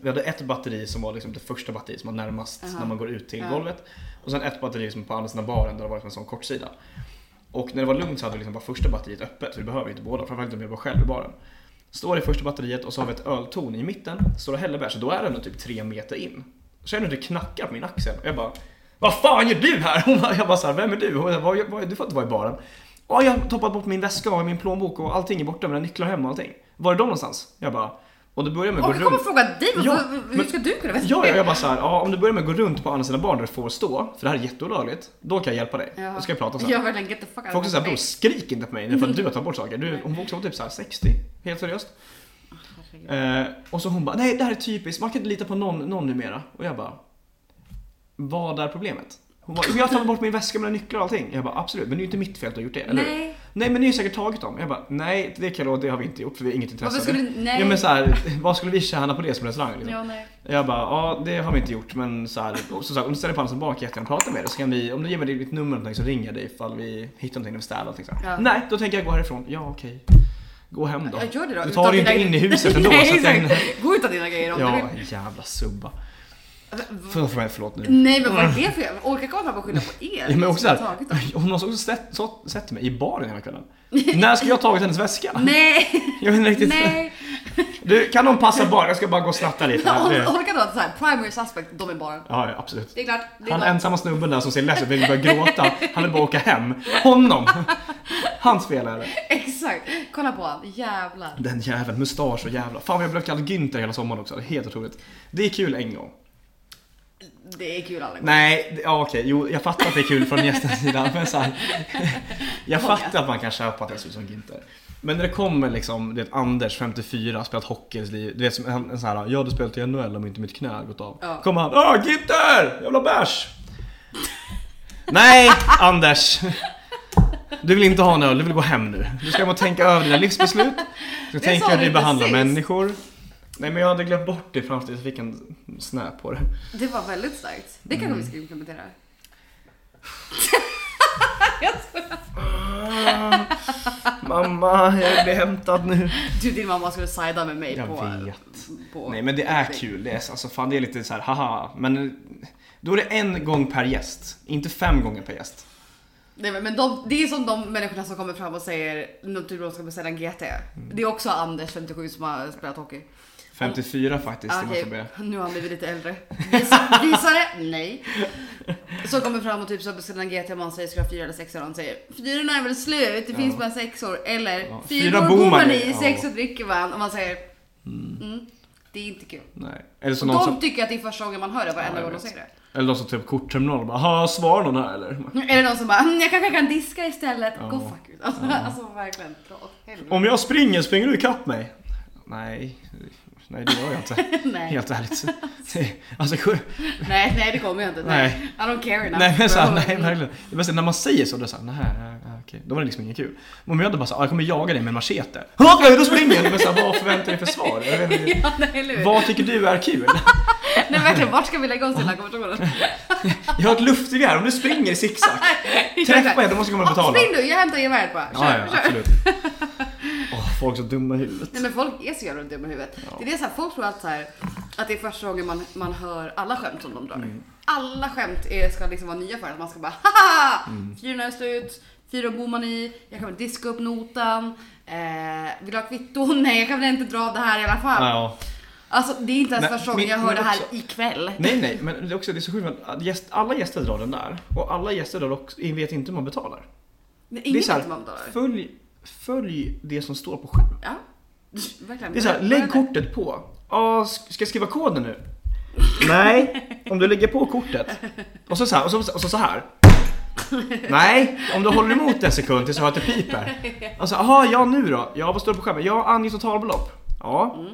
S1: Vi hade ett batteri som var liksom det första batteriet som var närmast
S2: Aha.
S1: när man går ut till
S2: Ja.
S1: golvet. Och sen ett batteri som på andra sidan baren där det var liksom en sån kortsida. Och när det var lugnt så hade vi liksom bara första batteriet öppet, för vi behöver ju inte båda, framförallt om jag var själv i baren. Står i första batteriet och så har vi ett öltorn i mitten, står det hällebär, så då är den nog typ tre meter in. Känner hur det knackar på min axel och jag bara Vad fan gör du här? Hon bara, jag bara såhär, vem är du? Hon bara, vad, vad, du får inte vara i baren. Ja, jag har toppat bort min väska och min plånbok och allting är borta, mina nycklar hem och allting. Var är de någonstans? Jag bara, och då börjar med
S2: Och
S1: att
S2: vi
S1: gå
S2: kommer
S1: runt.
S2: fråga dig,
S1: Ja,
S2: varför, hur
S1: men-
S2: ska du kunna veta
S1: Ja, ja,
S2: det?
S1: jag bara såhär, ja, om du börjar med att gå runt på andra sidan barn där du får stå, för det här är jätteolagligt, då kan jag hjälpa dig.
S2: Ja.
S1: Då ska jag prata så här.
S2: Jag verkligen get the fuck out
S1: Folk
S2: of
S1: säger
S2: my
S1: bror
S2: face.
S1: skrik inte på mig för att du har tagit bort saker. Du, hon också var typ så här 60, helt seriöst. Eh,
S2: Herregud.
S1: och så hon bara, nej det här är typiskt, man kan inte lita på någon, någon numera. Och jag bara, vad är problemet? Hon bara, jag har tagit bort min väska med nycklar och allting. Jag bara, absolut, men det är ju inte mitt fel att du har gjort det, eller hur?
S2: Nej,
S1: Nej men ni har ju säkert tagit dem. Jag bara, nej det kan jag lova, det har vi inte gjort för vi har inget intresse
S2: varför
S1: av
S2: skulle
S1: det.
S2: du... Nej.
S1: Ja men så här, vad skulle vi tjäna på det som restaurang? Liksom?
S2: Ja, nej.
S1: Jag bara, ja det har vi inte gjort men så här, och som sagt om du ställer dig på andra sidan bak jättegärna och pratar med dig så kan vi, om du ger mig ditt nummer eller någonting så ringer jag dig ifall vi hittar någonting när vi städar någonting så här.
S2: Ja.
S1: Nej, då tänker jag gå härifrån. Ja okej. Gå hem då.
S2: Ja, gör det då.
S1: Du
S2: utan
S1: tar dig inte
S2: dina-
S1: in i huset ändå.
S2: Nej,
S1: så att jag,
S2: exakt. Gå utan dina grejer om du
S1: ja,
S2: vill.
S1: jävla subba. Förlåt, förlåt, förlåt nu.
S2: Nej men vad är det för jävla... Orkar komma fram och skylla på er?
S1: Ja, men
S2: Som
S1: också
S2: har
S1: såhär,
S2: tagit dem.
S1: hon har också sett, så, sett mig i baren hela kvällen. När ska jag ha tagit hennes väska?
S2: Nej,
S1: Jag vet inte riktigt.
S2: nej.
S1: Du, kan någon passa baren? Jag ska bara gå och snatta lite. här.
S2: Or-
S1: Det-
S2: Orkar du att såhär, primary suspect, de är bara...
S1: Ja, ja, absolut.
S2: Det är klart, det är
S1: Han
S2: klart.
S1: ensamma snubben där som ser ledsen ut, vill börja gråta. Han vill bara åka hem. Honom! Hans fel är det.
S2: Exakt. Kolla på honom, jävlar.
S1: Den jäveln, mustasch och jävla. Fan vad jag blev kallad Günther hela sommaren också. Det är helt otroligt. Det är kul en gång.
S2: Det är kul alla gånger.
S1: Nej, det- ja okej. Jo, jag fattar att det är kul från gästens sida. Men så här, jag
S2: Många.
S1: fattar att man kan köpa att jag ser ut som Günther. Men när det kommer liksom, det är Anders, 54, spelat hockey i sitt liv. Du vet som en, en sån här, jag hade spelat i NHL om inte mitt knä hade gått av.
S2: Ja.
S1: Kommer han, Åh Günther! Jävla bärs! Nej, Anders! Du vill inte ha en öl, du vill gå hem nu. Du ska hem och tänka över dina livsbeslut. Du ska
S2: Det sa
S1: tänka hur
S2: du
S1: du behandlar
S2: precis.
S1: människor. Nej men jag hade glömt bort det fram tills jag fick en snä på det.
S2: Det var väldigt starkt. Det kanske
S1: Mm.
S2: vi ska implementera. Jag skojar.
S1: Ah. Mamma, jag blir hämtad nu.
S2: du, din mamma skulle sida med mig
S1: Jag
S2: på...
S1: vet.
S2: på...
S1: Nej men det är kul, det är, alltså, fan, det är lite så här, haha. Men då är det en gång per gäst, inte fem gånger per gäst.
S2: Nej, men de, det är som de människorna som kommer fram och säger något typ de ska beställa en GT.
S1: Mm.
S2: Det är också Anders 57 som har spelat hockey.
S1: 54 faktiskt, det
S2: Okej,
S1: måste jag be.
S2: nu har han blivit lite äldre. Visa, visa det? Nej. Så kommer fram och typ så beställer en GT och man säger ska jag ha fyra eller sexor och han säger fyrorna är väl slut, det finns
S1: Ja.
S2: bara sexor. Eller
S1: Ja,
S2: fyra
S1: fyra
S2: går
S1: bor man
S2: bor man
S1: i.
S2: i,
S1: Ja.
S2: sex och dricker man. Och man säger Mm. Det är inte kul.
S1: Nej. Eller
S2: Och
S1: så någon
S2: de
S1: som,
S2: tycker att det är första gången man hör det varenda
S1: Ja, jag
S2: gång de
S1: vet.
S2: säger det.
S1: eller de som tar upp kortterminalen och bara "Ha, svarar någon här eller?”
S2: Eller någon som bara "Mm, jag kanske kan diska istället.
S1: Ja.
S2: Go fuck it. Alltså, alltså verkligen. Dra åt helvete.
S1: Om jag springer, springer du ikapp mig? Nej, nej det gör jag inte.
S2: Nej.
S1: Helt ärligt. Det- Alltså, sju-
S2: nej, nej det kommer jag inte. Nej.
S1: Nej.
S2: I don't care enough.
S1: nej men såhär, nej
S2: Mm.
S1: verkligen. Det bästa är när man säger så, då är det såhär, nej, nej, nej, okej. Då var det liksom inget kul. Men om jag hade bara såhär, "Ah, jag kommer jaga dig med en machete. Okej, då springer jag! Det är såhär, vad förväntar du dig för svar? Jag vet inte.
S2: Ja, nej, eller hur?
S1: Vad tycker du är kul?
S2: Nej verkligen, vart ska vi lägga oss i den här konversationen?
S1: Jag har ett luftgevär, om du springer i zigzag. Träffa mig, då måste jag komma och
S2: Ja,
S1: betala.
S2: Spring du, jag hämtar geväret bara. Kör,
S1: Ja, ja,
S2: kör.
S1: absolut. Åh, folk så dumma i huvudet.
S2: Nej men folk är så jävla dumma i huvudet.
S1: Ja.
S2: Det är det så här, folk tror att, så här, att det är första gången man, man hör alla skämt som de drar.
S1: Mm.
S2: Alla skämt är, ska liksom vara nya för att man ska bara haha!
S1: Mm.
S2: Fyrorna är slut, fyra bor man i, jag kommer diska upp notan, eh, vill du ha kvitto? Nej jag kan väl inte dra av det här i alla fall.
S1: Ja.
S2: Alltså det är inte ens
S1: Nej,
S2: första gången
S1: men-
S2: jag hör
S1: men
S2: det här
S1: också- Mm.
S2: ikväll.
S1: Nej, nej, men det är också det är så sjukt för att gäst, alla gäster drar den där och alla gäster drar också, vet inte hur man betalar.
S2: Nej,
S1: det är
S2: ingen
S1: så här,
S2: vet vad man betalar.
S1: Följ, följ det som står på skärmen.
S2: Ja. Verkligen.
S1: Det är så här, lägg kortet på. Ja, sk- ska jag skriva koden nu? Nej, om du lägger på kortet. Och så så här, och så, och så, så här. Nej, om du håller emot en sekund tills jag hör att det piper. Alltså, jaha, ja nu då? Ja, vad står det på skärmen? Ja, ange totalbelopp. Ja.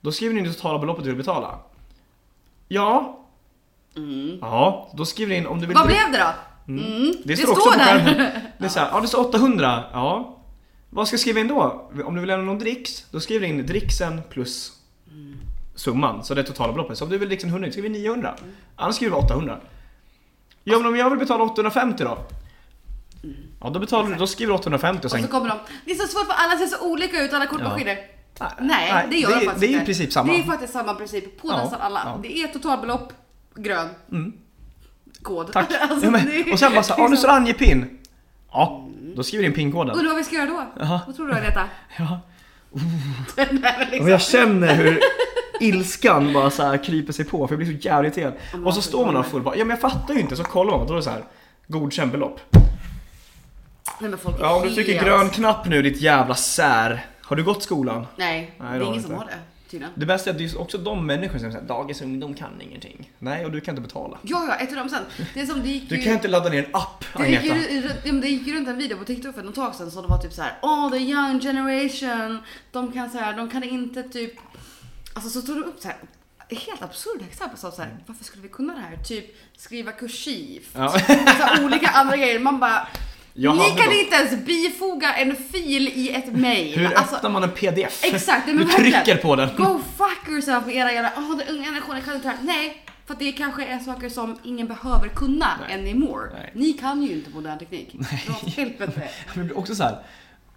S1: Då skriver ni in det totala beloppet du vill betala. Ja.
S2: Mm.
S1: Ja, då skriver ni in om du vill...
S2: Vad blev det då?
S1: Mm.
S2: Mm.
S1: Det står också på skärmen. Det är så här, ja det står 800. Ja. Vad ska jag skriva in då? Om du vill lämna någon dricks, då skriver du in dricksen plus
S2: Mm.
S1: summan. Så det är totala beloppet. Så om du vill dricksen 100, skriver du 900.
S2: Mm.
S1: Annars skriver du 800. Ja men om jag vill betala 850 då? Ja då betalar du, då skriver du 850 och
S2: Mm. Och
S1: sen...
S2: så kommer de. Det är så svårt för alla ser så olika ut, alla kortmaskiner. Nej,
S1: Nej,
S2: det gör de
S1: det är-
S2: faktiskt
S1: det är i
S2: inte.
S1: princip samma.
S2: Det är faktiskt samma princip på
S1: Ja,
S2: nästan alla.
S1: ja.
S2: Det är totalbelopp, grön,
S1: Mm,
S2: kod.
S1: tack.
S2: Alltså,
S1: ja, men,
S2: det är- liksom- Mm.
S1: och sen bara så här, ja nu står det ange pin. Ja, då skriver du in
S2: Undrar
S1: pinkoden.
S2: vad vi ska göra då?
S1: Jaha.
S2: Vad tror du Agneta?
S1: Ja.
S2: Nej, men liksom.
S1: Och jag känner hur ilskan bara så här kryper sig på för jag blir så jävligt irriterad.
S2: men alltså,
S1: Och så
S2: varför
S1: står man där
S2: kommer?
S1: full bara, ja men jag fattar ju inte. Så kollar man och då är det så här, godkänd belopp.
S2: Nej, men folk är
S1: Ja om du trycker
S2: helt-
S1: grön knapp nu ditt jävla sär. Har du gått skolan?
S2: Nej,
S1: Nej,
S2: det
S1: det
S2: är
S1: har
S2: ingen
S1: vi
S2: som
S1: inte.
S2: har det tydligen.
S1: Det bästa är att det är också de människor som säger dagens ungdom kan ingenting. Nej och du kan inte betala.
S2: Ja, ja, 100%. Det är som det gick
S1: Du
S2: ju...
S1: kan inte ladda ner en app
S2: Det gick, ju,
S1: Agneta.
S2: ja, men det gick ju runt en video på TikTok för något tag sedan som det var typ så här: Oh the young generation. De kan så här, de kan inte typ. Alltså så tog de upp så här helt absurda exempel som så här, varför skulle vi kunna det här? Typ skriva kursiv. Typ
S1: Ja.
S2: Så här, olika andra grejer. Man bara,
S1: Jag
S2: ni
S1: hade
S2: kan
S1: dem.
S2: inte ens bifoga en fil i ett mail.
S1: Hur
S2: alltså,
S1: öppnar man en pdf?
S2: Exakt, nej,
S1: du
S2: men verkligen.
S1: trycker på den.
S2: Go fuck yourself med era jävla, åh den unga generationen kan inte det här. Nej, för att det kanske är saker som ingen behöver kunna
S1: Nej.
S2: anymore.
S1: Nej.
S2: Ni kan ju inte modern teknik. Dra åt helvete.
S1: Men det blir också så här,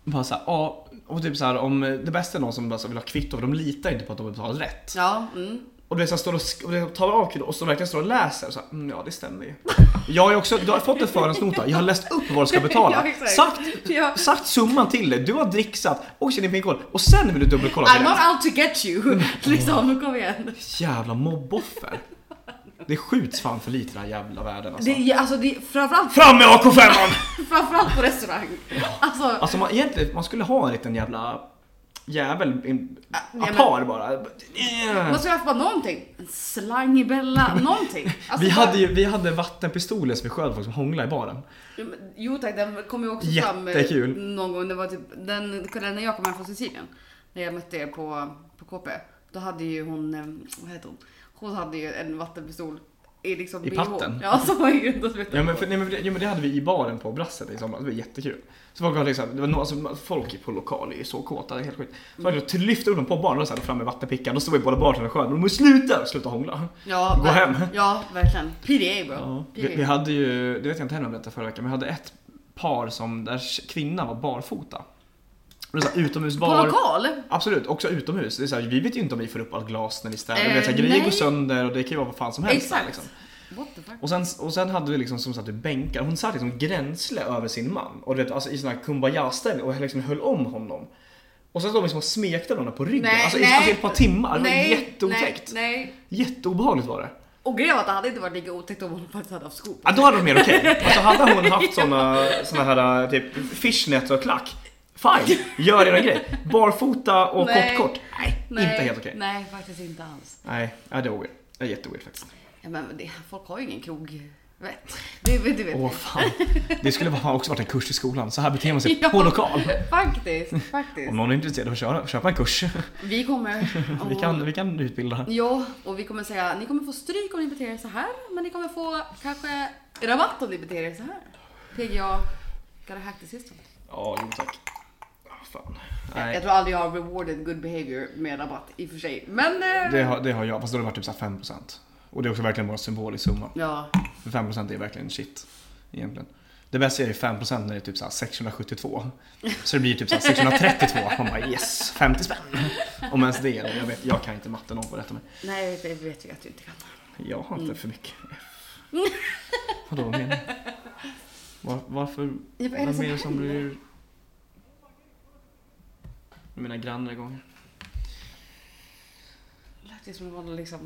S1: bara så här, ja, och typ så här, om eh, det bästa är någon som bara så vill ha kvitto för de litar inte på att de har betalat rätt.
S2: Ja, mm.
S1: Och du vet, så här, står och, sk- och du vet, tar av kvittot och så verkligen står och läser och så här, mm, ja det stämmer ju. Jag har ju också, du har fått en förhandsnota, jag har läst upp vad du ska betala.
S2: Ja, exakt.
S1: sagt,
S2: Ja.
S1: sagt summan till dig, du har dricksat och känner din kod och sen vill du dubbelkolla att
S2: I'm
S1: det är
S2: not
S1: rätt.
S2: out to get
S1: Mm.
S2: you. liksom, kom igen.
S1: Jävla mobboffer. Det skjuts fan för lite i den här jävla världen alltså.
S2: Det är, alltså, det är framförallt,
S1: Fram med ak 5
S2: framförallt på restaurang. Alltså,
S1: Alltså man, egentligen, man skulle ha en liten jävla jävel, en
S2: Ah, nej, men- Alltså,
S1: apar bara.
S2: man ska ha bara någonting. En slang i Bella, någonting. Alltså,
S1: Vi hade ju vi hade vattenpistoler som vi sköt folk som hånglade i baren.
S2: Jo, men- Jo tack, den kom ju också fram eh,
S1: Jättekul.
S2: någon gång. Det var typ den kvällen när jag kom hem från Sicilien. När jag mötte er på, på KP. Då hade ju hon, eh, vad heter hon? Hon hade ju en vattenpistol i liksom
S1: I
S2: BH.
S1: patten?
S2: Ja, som var i grund och botten.
S1: Ja men, för, nej, men, ja, men det hade vi i baren på Brasset i somras, det var jättekul. Så folk, var liksom, det var no, alltså, folk på lokal är ju så kåta, det är helt sjukt. Så mm. jag lyfte upp dem på baren och så hade fram med vattenpickan, då stod vi båda barsen och sköt. Men de måste sluta! Sluta hångla.
S2: Ja,
S1: Gå
S2: ver-
S1: hem.
S2: Ja, verkligen. PDA bro.
S1: Ja. Vi,
S2: PDA.
S1: vi hade ju, det vet jag inte heller om jag berättade förra veckan, men vi hade ett par som, där kvinnan var barfota. Och det var så här,
S2: På
S1: utomhusbar.
S2: lokal?
S1: Absolut, också utomhus. Det är så här, vi vet ju inte om vi får upp allt glas när vi städar.
S2: Eh,
S1: vi vet, så här, grejer
S2: nej.
S1: går sönder och det kan ju vara vad fan som helst. där,
S2: Exakt.
S1: Liksom.
S2: What the fuck?
S1: Och sen, och sen hade vi liksom som satt i bänkar, hon satt liksom gränsle över sin man. Och du vet, alltså i sån här kumbaya-ställning och liksom höll om honom. Och sen stod de liksom och smekte varandra på ryggen.
S2: Nej,
S1: alltså,
S2: nej.
S1: I, alltså i ett par timmar. Det var
S2: nej,
S1: jätteotäckt.
S2: Nej, nej.
S1: Jätteobehagligt var det.
S2: Och grejen var att det hade inte varit lika otäckt om hon faktiskt hade haft skor på
S1: Ja, då hade det varit mer okej. Alltså hade hon haft såna, såna här typ fishnets och klack. Fine, gör era grej. Barfota och
S2: Nej.
S1: kortkort. Nej,
S2: Nej,
S1: Inte helt okej.
S2: Nej, faktiskt inte alls.
S1: Nej, ja, det är weird. Det är jätteweird faktiskt.
S2: Ja, men det, folk har ju ingen krogvett. Du, vet- du vet.
S1: Åh fan. Det skulle ha också varit en kurs i skolan. Så här beter man sig
S2: Ja.
S1: på lokal.
S2: Faktiskt,
S1: Om
S2: faktiskt.
S1: någon är intresserad av att köra, köpa en kurs.
S2: Vi kommer...
S1: Vi kan, vi kan utbilda.
S2: Ja, och vi kommer säga ni kommer få stryk om ni beter er så här, men ni kommer få kanske rabatt om ni beter er så här. PGA Galahactic System.
S1: Ja, jo tack. Ah, Fan.
S2: Jag, jag
S1: Nej,
S2: tror aldrig jag har rewarded good behavior med rabatt i och för sig, men... eh,
S1: det har, det har jag. Fast då har det varit typ så här 5%. Och det är också verkligen bara en symbolisk summa.
S2: Ja,
S1: För 5% är verkligen shit. Egentligen. Det bästa är ju 5% när det är typ så här 672. Så det blir typ så här 632. Man bara yes, 50 spänn. Om ens det är det. Jag, vet, jag kan inte matte, någon får rätta mig.
S2: nej det vet vi att du inte kan.
S1: Jag har inte
S2: Mm.
S1: för mycket F. Vadå, vad menar du? Var, varför?
S2: Ja, vad är det som
S1: det som
S2: händer?
S1: blir... Mina grannar igång.
S2: Lät det som det var någon liksom...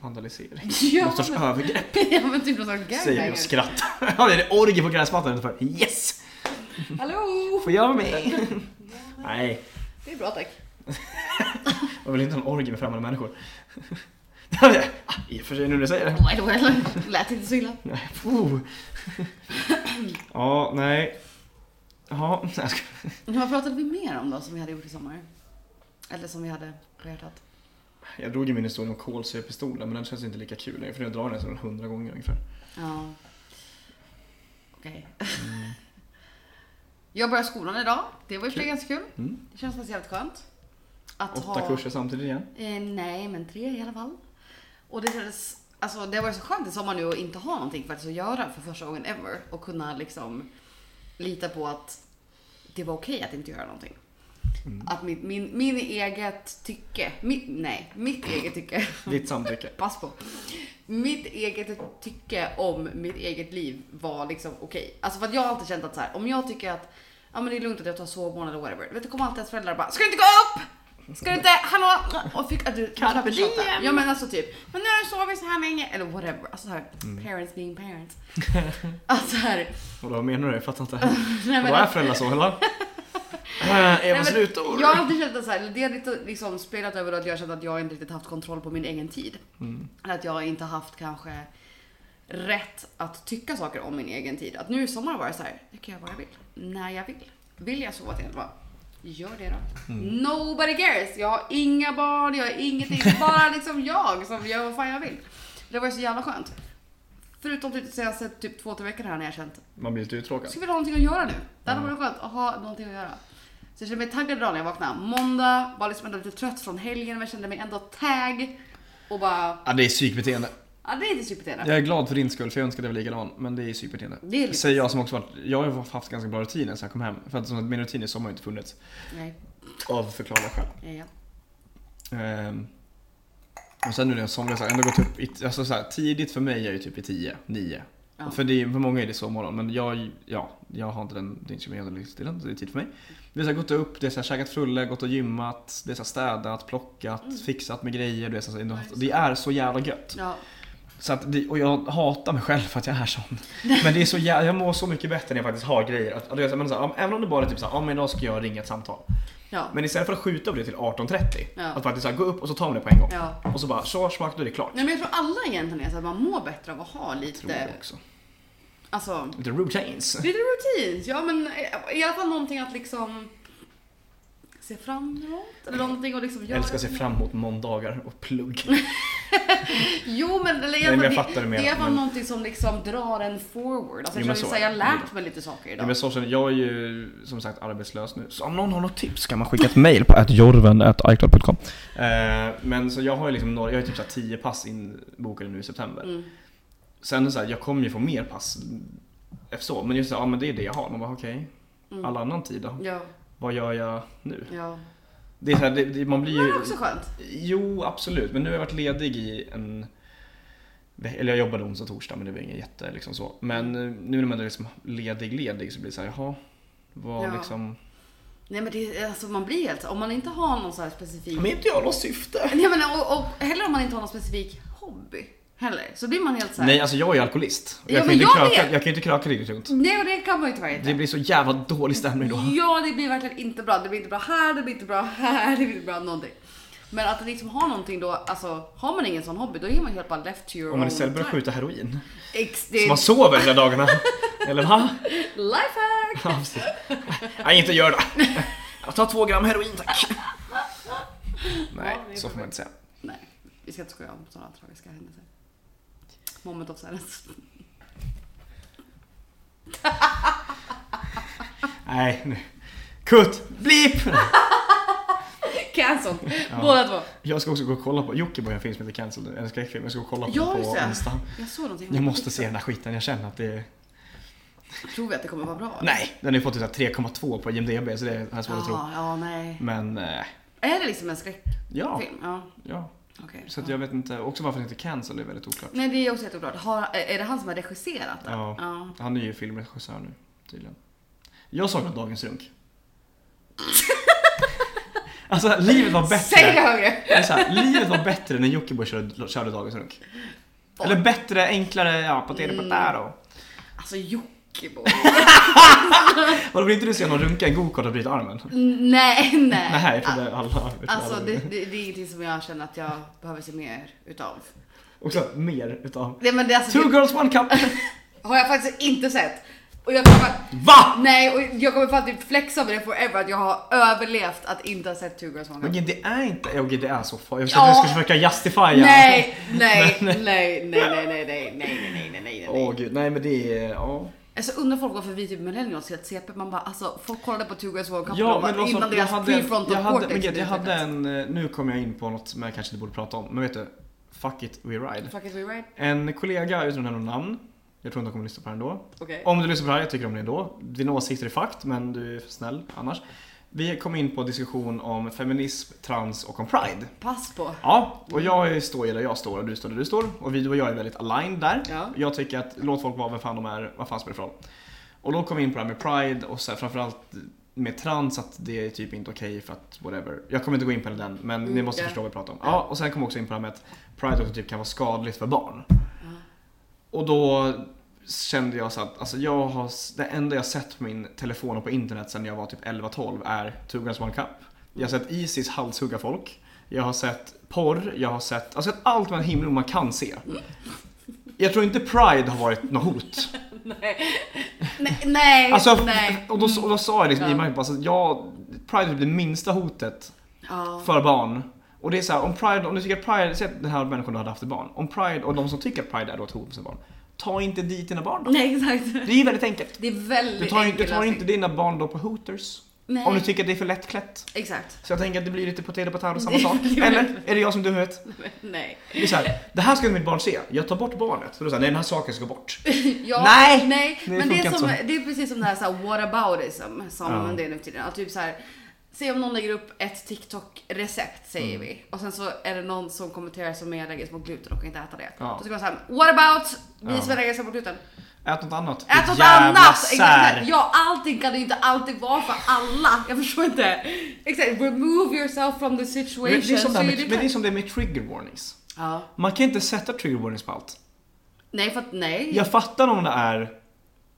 S1: Vandalisering.
S2: Ja,
S1: Någon sorts
S2: men-
S1: övergrepp
S2: ja men typ någon sån
S1: säger jag
S2: gangbanger.
S1: och skrattar. Ja, det är det orgie på gräsmattan utanför. Yes!
S2: Hallå!
S1: Får jag vara med? Nej,
S2: Det är bra tack.
S1: det var väl inte en orgie med främmande människor. Ja, Ah, I och för sig nu när du säger det.
S2: Oh, well, well. Lät inte så illa.
S1: Nej, oh. Ja, nej. Ja, nej, jag skojar.
S2: Men Vad pratade vi mer om då som vi hade gjort i sommar? Eller som vi hade på hjärtat?
S1: Jag drog ju min historia om kolsyrepistolen men den känns inte lika kul längre för jag drar den sådär hundra gånger ungefär.
S2: Ja. Okej. Jag börjar skolan idag. Det var ju för sig ganska kul.
S1: Mm.
S2: Det känns faktiskt jävligt skönt. Att
S1: Åtta kurser samtidigt igen.
S2: Eh, nej, men tre i alla fall. Och det kändes... Alltså det har varit så skönt i sommar nu att inte ha någonting faktiskt att göra för första gången ever. Och kunna liksom lita på att det var okej att inte göra någonting. Att min, min, min eget tycke, mitt, nej, mitt eget tycke
S1: Ditt samtycke.
S2: Pass på. Mitt eget tycke om mitt eget liv var liksom okej. Alltså för att jag har alltid känt att så här, om jag tycker att ja, men det är lugnt att jag tar sovmorgon eller whatever. Vet du, kommer alltid ens föräldrar och bara Ska du inte gå upp? Ska du inte, hallå? Och fick att du
S1: Carpe
S2: tjatar.
S1: diem.
S2: Ja men alltså typ, men nu har du sovit så här länge. Eller whatever. Alltså så här, parents being parents. Alltså så här.
S1: Och då menar du? Jag fattar inte.
S2: Nej,
S1: Vad är föräldrar så eller? Eh,
S2: Nej,
S1: Eva
S2: men
S1: slutord.
S2: Jag har alltid känt att så här, det har lite liksom spelat över att jag har känt att jag inte riktigt haft kontroll på min egen tid. Eller att jag inte haft kanske rätt att tycka saker om min egen tid. Att nu i sommar var det så här, nu kan jag göra vad jag vill. När jag vill. Vill jag sova till elva? Gör det då. Nobody cares. Jag har inga barn, jag har ingenting. Bara liksom jag som gör vad fan jag vill. Det var ju så jävla skönt. Förutom typ de senaste typ två, tre veckorna här när jag har känt
S1: Man blir lite uttråkad.
S2: Ska vi ha någonting att göra nu? Det hade varit skönt att ha någonting att göra. Så jag kände mig taggad idag när jag vaknade. Måndag var liksom ändå lite trött från helgen men jag kände mig ändå tagg. Och bara,
S1: Ja, det är psykbeteende.
S2: ja det är inte superbeteende.
S1: Jag är glad för din skull för jag önskar det var likadant men det är psykbeteende.
S2: Det är lite-
S1: Säger jag som också varit, jag har haft ganska bra rutiner sen jag kom hem. För att som sagt, min rutin i sommar har inte funnits.
S2: Nej,
S1: Av förklarliga skäl.
S2: ja, ja.
S1: Ehm, och sen nu när jag somnar så har jag ändå gått upp, i, alltså så här, tidigt för mig är ju typ i 10, 9.
S2: Ja.
S1: För, det är, för många är det så morgon, men jag, ja, jag har inte den, det är inte som jag hade livsstilen, så det är tid för mig. Det är så här, gått upp, det är så här, käkat frulle, gått och gymmat, det är så här, städat, plockat,
S2: Mm.
S1: fixat med grejer. Det är, så här, ändå,
S2: Nice.
S1: det är så jävla gött.
S2: ja.
S1: Så att, det- och jag hatar mig själv för att jag är sån. Men det är så jävla, jag mår så mycket bättre när jag faktiskt har grejer. Att, att jag, men så här, om- även om det bara är typ såhär, ja men idag ska jag ringa ett samtal.
S2: ja.
S1: Men istället för att skjuta på det till 18.30,
S2: Ja.
S1: att faktiskt så här, gå upp och så tar man det på en gång.
S2: ja.
S1: Och så bara Schwarzmark, då är det klart.
S2: Nej men jag tror alla egentligen är så att man mår bättre av att ha
S1: Tror jag
S2: lite,
S1: också.
S2: alltså
S1: Lite routines.
S2: lite rutin. Ja men eh, i alla fall någonting att liksom se fram emot. Eller någonting att liksom
S1: Jag
S2: göra.
S1: älskar att se fram emot måndagar och plugg.
S2: Jo men eller i
S1: Nej,
S2: alla
S1: men
S2: fall,
S1: jag
S2: det,
S1: fattar det
S2: det
S1: mer,
S2: är i alla fall
S1: men-
S2: någonting som liksom drar en forward. Alltså,
S1: Jo,
S2: jag,
S1: men
S2: känner
S1: så
S2: så här, jag
S1: är
S2: har
S1: det.
S2: lärt mig lite saker
S1: Ja,
S2: idag.
S1: men så känner jag. jag är ju som sagt arbetslös nu. Så om någon har något tips kan man skicka ett mail på atjorven.icloud.com eh, Men så jag har ju liksom några, jag har ju typ så här 10 pass inbokade nu i september.
S2: Mm.
S1: Sen så här, jag kommer ju få mer pass. Efter så, men just så här, ja men det är det jag har. Man bara okej,
S2: Mm.
S1: all annan tid då?
S2: Ja,
S1: Vad gör jag nu?
S2: ja.
S1: Det är så här, det, det, man blir
S2: Men det
S1: ju...
S2: är också skönt.
S1: Jo, absolut. Men nu har jag varit ledig i en ve- eller jag jobbade onsdag och torsdag men det var inget jätte liksom så. Men eh, nu när man är liksom ledig ledig så blir det så här, jaha. Vad
S2: Ja.
S1: liksom...
S2: Nej men det, är- alltså man blir helt, om man inte har någon så här specifik...
S1: Men inte jag något syfte?
S2: Nej men och, och heller om man inte har någon specifik hobby heller. Så blir man helt så här.
S1: Nej alltså jag är ju alkoholist.
S2: Ja,
S1: Jag, kan
S2: men
S1: inte
S2: jag
S1: kröka,
S2: vet.
S1: jag kan inte kröka riktigt tungt.
S2: Nej och det kan man ju tyvärr inte.
S1: Det blir så jävla dålig stämning då.
S2: Ja det blir verkligen inte bra. Det blir inte bra här, det blir inte bra här, det blir inte bra någonting. Men att liksom ha någonting då, alltså har man ingen sån hobby då är man helt bara left to your
S1: Om man
S2: own
S1: istället börjar
S2: time.
S1: skjuta heroin.
S2: Ex,
S1: Så
S2: det
S1: man
S2: är
S1: sover hela dagarna. Eller va?
S2: lifehack!
S1: Ja, precis. Nej, inte gör det. Jag tar två gram heroin tack. Nej,
S2: Ja, det är
S1: så får man inte säga.
S2: Nej, vi ska inte skoja om sådana tragiska händelser. Moment of silence.
S1: Nej, nu. Kutt! Blip!
S2: Cancel!
S1: Ja.
S2: Båda två.
S1: Jag ska också gå och kolla på, Jocke på en film som heter Cancel, en skräckfilm. Jag ska gå och kolla på
S2: Ja,
S1: den
S2: just
S1: på
S2: det.
S1: onsdag.
S2: Jag såg någonting.
S1: Jag måste se den där skiten, jag känner att det är...
S2: Tror vi att det kommer vara bra?
S1: Nej! Den har ju fått typ så här 3,2 på IMDB så det har jag svårt att tro.
S2: Jaha, ja, nej.
S1: Men, eh,
S2: Är det liksom en skräckfilm?
S1: ja.
S2: Ja,
S1: ja.
S2: okej.
S1: Så att
S2: Ja.
S1: jag vet inte, också varför den heter Cancel är väldigt oklart.
S2: Nej, det är också jätteoklart. Har, är det han som har regisserat den?
S1: Ja. Han är ju filmregissör nu, tydligen. Jag saknar Dagens Runk. alltså, livet var bättre.
S2: Säg det högre!
S1: Det är så här, livet var bättre när Jockiboi körde, körde Dagens Runk.
S2: Oj.
S1: Eller bättre, enklare, ja, på
S2: Mm.
S1: tv på där och.
S2: Alltså Jockiboi.
S1: Vadå, vill inte du se någon runka i en gokart och bryta armen?
S2: nej, nej.
S1: Nej, för det alla...
S2: Alltså det, det, det är ingenting som jag känner att jag behöver se mer utav.
S1: Också mer utav...
S2: Nej, men det, är alltså,
S1: Two
S2: det
S1: girls, one cup!
S2: har jag faktiskt inte sett. Och jag kommer,
S1: Va?
S2: nej, och jag kommer fan typ flexa med det forever att jag har överlevt att inte ha sett Two Girls One Cup.
S1: Men det är inte... Okej, det är så farligt. Jag
S2: Ja.
S1: ska, jag ska försöka justifiera.
S2: Nej, nej, nej, nej, nej, nej, nej, nej, nej, nej, nej, nej,
S1: Åh
S2: nej.
S1: gud, nej men det är... Ja.
S2: Alltså undrar folk varför vi typ millennials helt CP, man bara alltså folk kollade på Two Girls One Cup
S1: Ja, men
S2: och bara,
S1: det var så,
S2: innan
S1: jag
S2: deras
S1: hade,
S2: prefrontal
S1: jag hade, men
S2: cortex
S1: gud, jag hade
S2: utvecklats.
S1: en, eh, nu kommer jag in på något som jag kanske inte borde prata om, men vet du? Fuck it, we ride.
S2: Fuck it, we right?
S1: En kollega, utan att nämna något namn, jag tror inte de kommer lyssna på den då.
S2: Okej.
S1: Om du lyssnar på det här, jag tycker om det ändå. Dina åsikter är fakt, men du är snäll annars. Vi kom in på diskussion om feminism, trans och om pride.
S2: Pass på.
S1: Ja, och jag står ju där jag står och du står där du står. Och vi, du och jag är väldigt aligned där.
S2: Ja.
S1: Jag tycker att låt folk vara vem fan de är, vad fan spelar det för roll? Och då kom vi in på det här med pride och så här, framförallt med trans att det är typ inte okej för att whatever. Jag kommer inte gå in på det den, men ni
S2: Mm,
S1: måste
S2: ja.
S1: förstå vad vi pratar om. Ja, och sen kom vi också in på det här med att pride också typ kan vara skadligt för barn. Och då kände jag så att alltså jag har, det enda jag sett på min telefon och på internet sedan jag var typ 11-12 är Two Guns One Cup. Jag har sett Isis halshugga folk. Jag har sett porr, jag har sett, alltså allt mellan himmel och man kan se. Jag tror inte Pride har varit något hot.
S2: Nej, nej,
S1: Alltså,
S2: Eh, nej.
S1: och, då, och då sa jag liksom
S2: Ja.
S1: i mig bara så att jag, Pride är typ det minsta hotet
S2: Ja.
S1: för barn. Och det är så här, om Pride, om du tycker att Pride, säg att den här människan du hade haft ett barn. Om Pride, och de som tycker att Pride är då ett hot mot sina barn. Ta inte dit dina barn då.
S2: Nej, exakt.
S1: Det är ju väldigt enkelt.
S2: Det är väldigt
S1: Du tar, ju- du
S2: enkel
S1: tar
S2: lösning.
S1: inte dina barn då på Hooters.
S2: Nej,
S1: Om du tycker att det är för lättklätt.
S2: exakt.
S1: Så jag tänker att det blir lite potato potato, samma
S2: Det-
S1: sak.
S2: det blir-
S1: Eller? Är det jag som är dum i huvudet?
S2: Nej.
S1: Det är så här, det här ska mitt barn se. Jag tar bort barnet. Så då säger nej den här saken ska bort.
S2: Ja,
S1: Nej!
S2: nej.
S1: Det
S2: men det
S1: funkar
S2: är,
S1: inte
S2: som,
S1: så.
S2: det är precis som det här, så här whataboutism som
S1: Ja.
S2: det är nu för tiden. Att typ så här, se om någon lägger upp ett TikTok-recept
S1: Mm.
S2: säger vi. Och sen så är det någon som kommenterar som är allergisk mot gluten och kan inte äta det.
S1: Ja.
S2: Då ska man säga what about vi
S1: Ja.
S2: som är allergiska mot gluten?
S1: Ät något annat.
S2: Ät något
S1: Jävla
S2: annat!
S1: sär.
S2: Exakt. Ja, allting kan ju inte alltid vara för alla. Jag förstår inte. Exakt, remove yourself from the situation.
S1: Men det, är som det
S2: så
S1: här
S2: är
S1: med,
S2: det
S1: men det är
S2: klart.
S1: som det är med trigger warnings.
S2: ja.
S1: Man kan inte sätta trigger warnings på allt.
S2: Nej, för att nej.
S1: Jag fattar om det är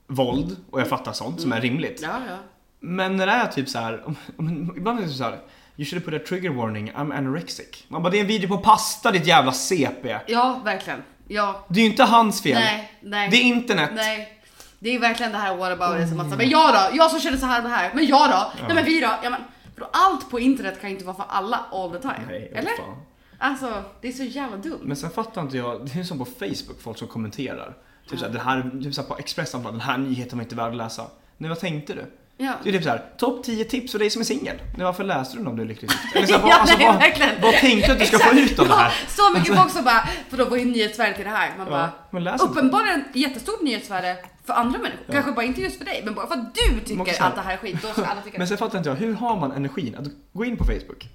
S1: våld och jag fattar sånt som är
S2: Mm.
S1: rimligt.
S2: Ja, ja.
S1: Men när det är typ så här, om, om, ibland är det så här. You should put a trigger warning, I'm anorexic. Man bara det är en video på pasta ditt jävla CP.
S2: Ja, verkligen. Ja.
S1: Det är ju inte hans fel.
S2: Nej, nej.
S1: Det är internet.
S2: nej. Det är verkligen det här whataboutism som man
S1: Mm.
S2: säger, men jag då? Jag som känner så här och det här. Men jag då? Nej men vi då? Ja, men, för allt på internet kan ju inte vara för alla all the time.
S1: Nej, åh,
S2: Eller?
S1: fan.
S2: Alltså, det är så jävla dumt.
S1: Men sen fattar inte jag, det är som på Facebook, folk som kommenterar. Typ såhär, den här, typ såhär på Expressen, bara, den här nyheten var inte värd att läsa. Nej vad tänkte du?
S2: Ja.
S1: Det är typ såhär, topp 10 tips för dig som är singel. Nej varför läste du den om du är lyckligt gift? Eller såhär,
S2: Ja,
S1: vad, alltså,
S2: nej,
S1: vad,
S2: verkligen.
S1: vad tänkte du att du ska få ut av det här?
S2: Ja, så mycket folk som bara, för då går ju nyhetsvärdet i det här. Man
S1: Ja, Alltså-
S2: bara,
S1: men läs inte.
S2: uppenbarligen jättestort nyhetsvärde för andra människor. Kanske bara inte just för dig, men bara för att du
S1: Men
S2: tycker
S1: också-
S2: att det här är skit, då ska alla tycka
S1: Men
S2: det.
S1: sen fattar inte jag, hur har man energin att gå in på Facebook,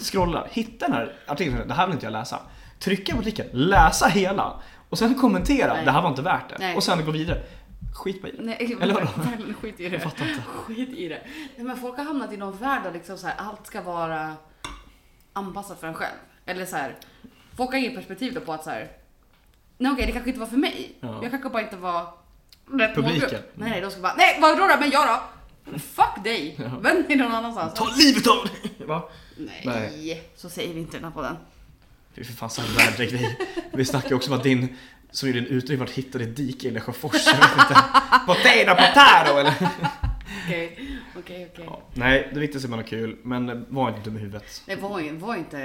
S1: scrolla, hitta den här artikeln, det här vill inte jag läsa. Trycka på artikeln, läsa hela och sen kommentera,
S2: Nej.
S1: det här var inte värt det.
S2: Nej.
S1: Och sen gå vidare. Skit på i det.
S2: Nej,
S1: Eller vadå?
S2: verkligen, skit i det.
S1: Jag fattar inte.
S2: Skit i det. Nej, men folk har hamnat i någon värld där liksom så här, allt ska vara anpassat för en själv. Eller så här, folk har inget perspektiv då på att så här, nej okej det kanske inte var för mig.
S1: Ja.
S2: Jag kanske bara inte var rätt
S1: Publiken.
S2: målgrupp. Nej, nej, de ska bara, nej vadå då, men jag då? Fuck dig!
S1: Ja.
S2: Vänd dig någon annanstans.
S1: Ta livet av dig! Va?
S2: Nej,
S1: Nej.
S2: så säger vi inte i den här podden.
S1: Fy för fan så värdig grej. Vi snackade ju också om att din, som gjorde en utredning vart hittade ett dike i Lesjöfors. Jag vet inte. Potera potaro eller?
S2: Okej, okej, okej.
S1: Ja, nej, det viktigaste är att man har kul, men var inte dum i huvudet.
S2: Nej, var, ju- var inte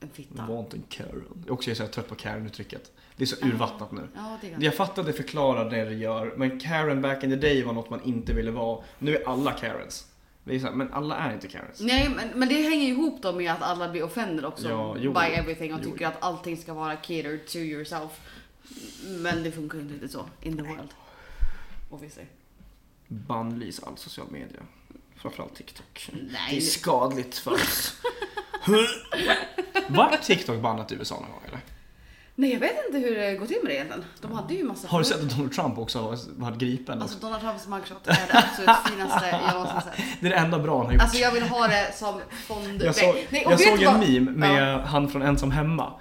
S2: en fitta.
S1: Var inte en Karen. Jag är också så här trött på Karen-uttrycket. Det är så urvattnat nu.
S2: Ja, det kan
S1: Jag fattar att det förklarar det det gör, men Karen back in the day var något man inte ville vara. Nu är alla Karens. Det är så här, men alla är inte Karens.
S2: Nej, men, men det hänger ihop då med att alla blir offended också
S1: Ja, jo.
S2: by everything och
S1: Jo,
S2: tycker att allting ska vara catered to yourself. Men det funkar ju inte riktigt så in the world. Obviously.
S1: Bannlys all social media. Framförallt TikTok. Det är
S2: Nej,
S1: skadligt för oss. Var TikTok bannat i USA någon gång eller?
S2: nej, jag vet inte hur det går till med det egentligen. De hade ju massa...
S1: Har du sett att Donald Trump också var, var gripen?
S2: Alltså Donald Trumps mugshot är det absolut finaste jag någonsin sett.
S1: det är det enda bra han har gjort.
S2: Alltså jag vill ha det som fond...
S1: jag såg,
S2: nej, nej, och
S1: jag
S2: vet
S1: såg
S2: du
S1: en
S2: vad?
S1: meme med
S2: Ja.
S1: han från Ensam Hemma.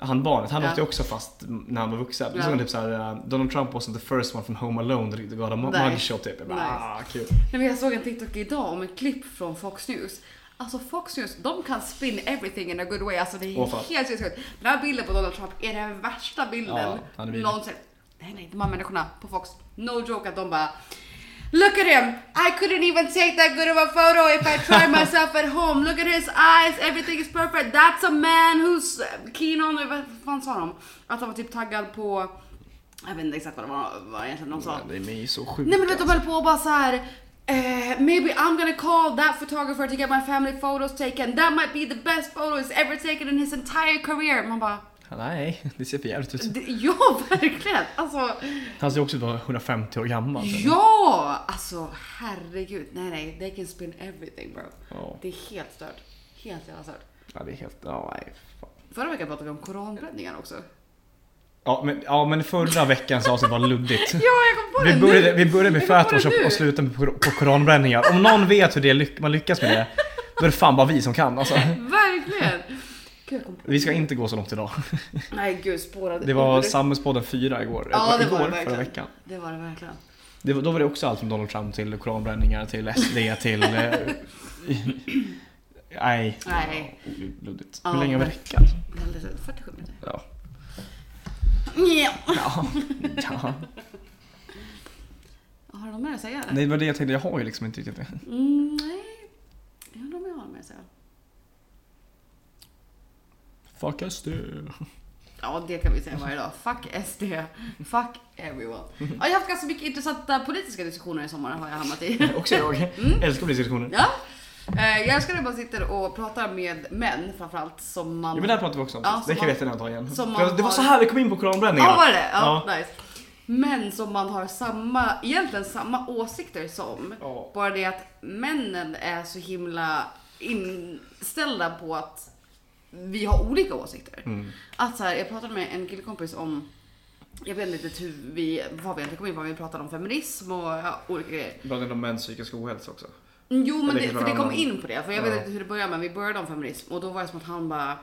S1: Han barnet, han
S2: Ja.
S1: åkte ju också fast när han var vuxen. Då
S2: Ja.
S1: såg han typ såhär, eh, Donald Trump wasn't the first one from Home Alone that got a mu-
S2: Nej.
S1: mugshot typ. Jag bara,
S2: Nice.
S1: ah, kul.
S2: Nej, men jag såg en TikTok idag om ett klipp från Fox News. Alltså Fox News, de kan spin everything in a good way. Alltså det är
S1: Åh, fan.
S2: helt sinnessjukt. Den här bilden på Donald Trump är den värsta bilden
S1: Ja, han är vidrig.
S2: någonsin. Nej, nej, de här människorna på Fox, no joke att de bara Look at him! I couldn't even take that good of a photo if I tried myself at home. Look at his eyes, everything is perfect. That's a man who's keen on... Vad fan sa de? Att han var typ taggad på... Jag vet inte exakt vad det var, vad egentligen de sa.
S1: Men Det är mig så sjukt.
S2: Nej men du vet de höll på och bara såhär eh, Maybe I'm gonna call that photographer to get my family photos taken That might be the best photos ever taken in his entire career Man bara
S1: Nej, det ser för jävligt ut.
S2: "Det- Ja verkligen! Alltså
S1: Han ser också ut att vara 150 år gammal.
S2: Ja! Alltså herregud Nej nej, they can spin everything bro
S1: Ja.
S2: Det är helt stört Helt jävla stört
S1: Ja, det är helt... Ja, nej, fan.
S2: Förra veckan pratade vi om koranbränningar också
S1: Ja, men, ja, men förra veckans avsnitt var luddigt.
S2: Ja jag kom på det
S1: Vi
S2: nu.
S1: började, vi började med
S2: Jag kom på det
S1: fatwash och,
S2: nu.
S1: och slutade på, på koranbränningar. Om någon vet hur det lyck, man lyckas med det, då är det fan bara vi som kan alltså.
S2: Verkligen! Gud jag kom på
S1: Vi ska inte gå så långt idag.
S2: Nej gud spårade
S1: Det var
S2: ur.
S1: Samhällspodden 4 igår.
S2: Ja, det var
S1: igår
S2: det verkligen.
S1: förra veckan.
S2: Det var det verkligen
S1: Det var, då var det också allt från Donald Trump till koranbränningar till SD till... eh, nej.
S2: Nej.
S1: Ja, Luddigt.
S2: Ja,
S1: Hur länge var
S2: men-
S1: veckan?
S2: Väldigt 47 minuter
S1: Ja.
S2: Ja.
S1: Ja. ja.
S2: Har du något mer att säga eller?
S1: Nej, det var det jag tänkte. Jag har ju liksom inte riktigt det.
S2: Mm, nej. Jag undrar om jag har något mer att säga.
S1: Fuck SD.
S2: Ja, det kan vi säga varje dag. Fuck SD. Fuck everyone. Ja, jag har haft ganska mycket intressanta politiska diskussioner i sommar har jag hamnat i.
S1: Också jag. Älskar polisdiskussioner.
S2: Mm. Ja. Eh, Jag älskar när man sitter och pratar med män framförallt som man...
S1: Ja men det här pratade vi också om.
S2: Ja, som
S1: det kan
S2: man-
S1: vi jättegärna ta igen.
S2: som
S1: Det
S2: man
S1: var- det var
S2: har-
S1: så här vi kom in på koranbränningarna.
S2: Ja, var det ja, nice. Men som man har samma, egentligen samma åsikter som.
S1: Ja.
S2: Bara det att männen är så himla inställda på att vi har olika åsikter. Att så här, jag pratade med en killkompis om jag vet inte riktigt hur vi, vad vi egentligen kom in på, men vi pratade om feminism och ja, olika grejer.
S1: Bland annat om mäns psykisk ohälsa också.
S2: Mm, Jo men
S1: Eller
S2: det,
S1: kanske
S2: för det kom
S1: varannan.
S2: in på det, för jag vet
S1: Ja.
S2: inte hur det började men vi började om feminism och då var det som att han bara